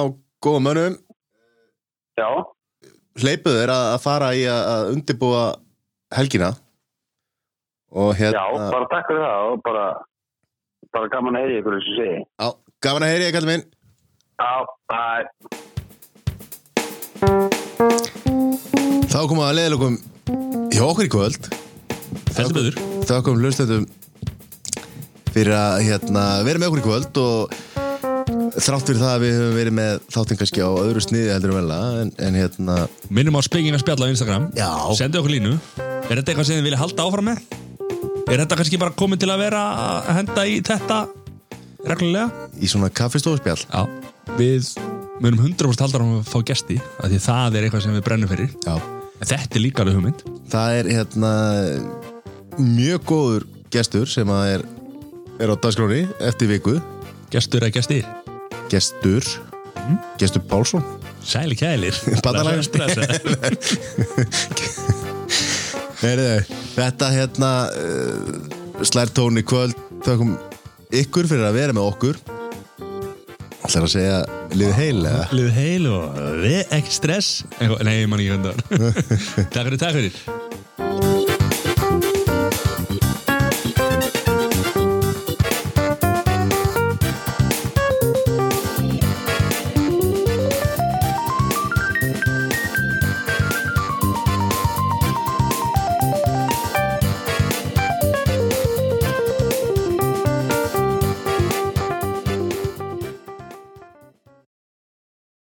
Speaker 1: góða mönnum
Speaker 5: já,
Speaker 1: Hleypuð er að, að fara í að, að undibúa helgina og
Speaker 5: já,
Speaker 1: hérna
Speaker 5: bara takk fyrir það og bara, bara gaman að heyri ykkur þessu segi
Speaker 1: á, Gaman að heyri, kallum minn
Speaker 5: já, bye
Speaker 1: Þá komum við að leiðilegum hjá okkur í kvöld
Speaker 2: Heldur betur
Speaker 1: Þá komum hlustendum fyrir að hérna, vera með okkur í kvöld og þrátt fyrir það að við höfum verið með þáttinn kannski á öðru sniði heldur um velja en, en hérna
Speaker 2: Minnum á spengina spjall á Instagram
Speaker 1: Já.
Speaker 2: Sendu okkur línu Er þetta eitthvað sem þið vilja halda áfram með? Er þetta kannski bara komið til að vera að henda í þetta reglulega?
Speaker 1: í svona kaffistofspjall
Speaker 2: Já Við munum 100% halda áfram að fá gesti af Því það er eitthvað sem við brennum fyrir
Speaker 1: Já
Speaker 2: En þetta er líka alveg hugmynd
Speaker 1: Það er hérna mjög góður gestur sem að er, er á dagskráni eftir viku
Speaker 2: Gestur eða gesti
Speaker 1: gestur gestur Pálsson
Speaker 2: Sæli kælir
Speaker 1: Bandalag.
Speaker 2: Blessa, blessa.
Speaker 1: Heyriðu, Þetta hérna uh, slær tóni kvöld þökkum ykkur fyrir að vera með okkur Það er að segja lið heilega
Speaker 2: Lið heil og við ekki stress Eitthvað- Nei, ég man ekki hundar Takk fyrir, takk fyrir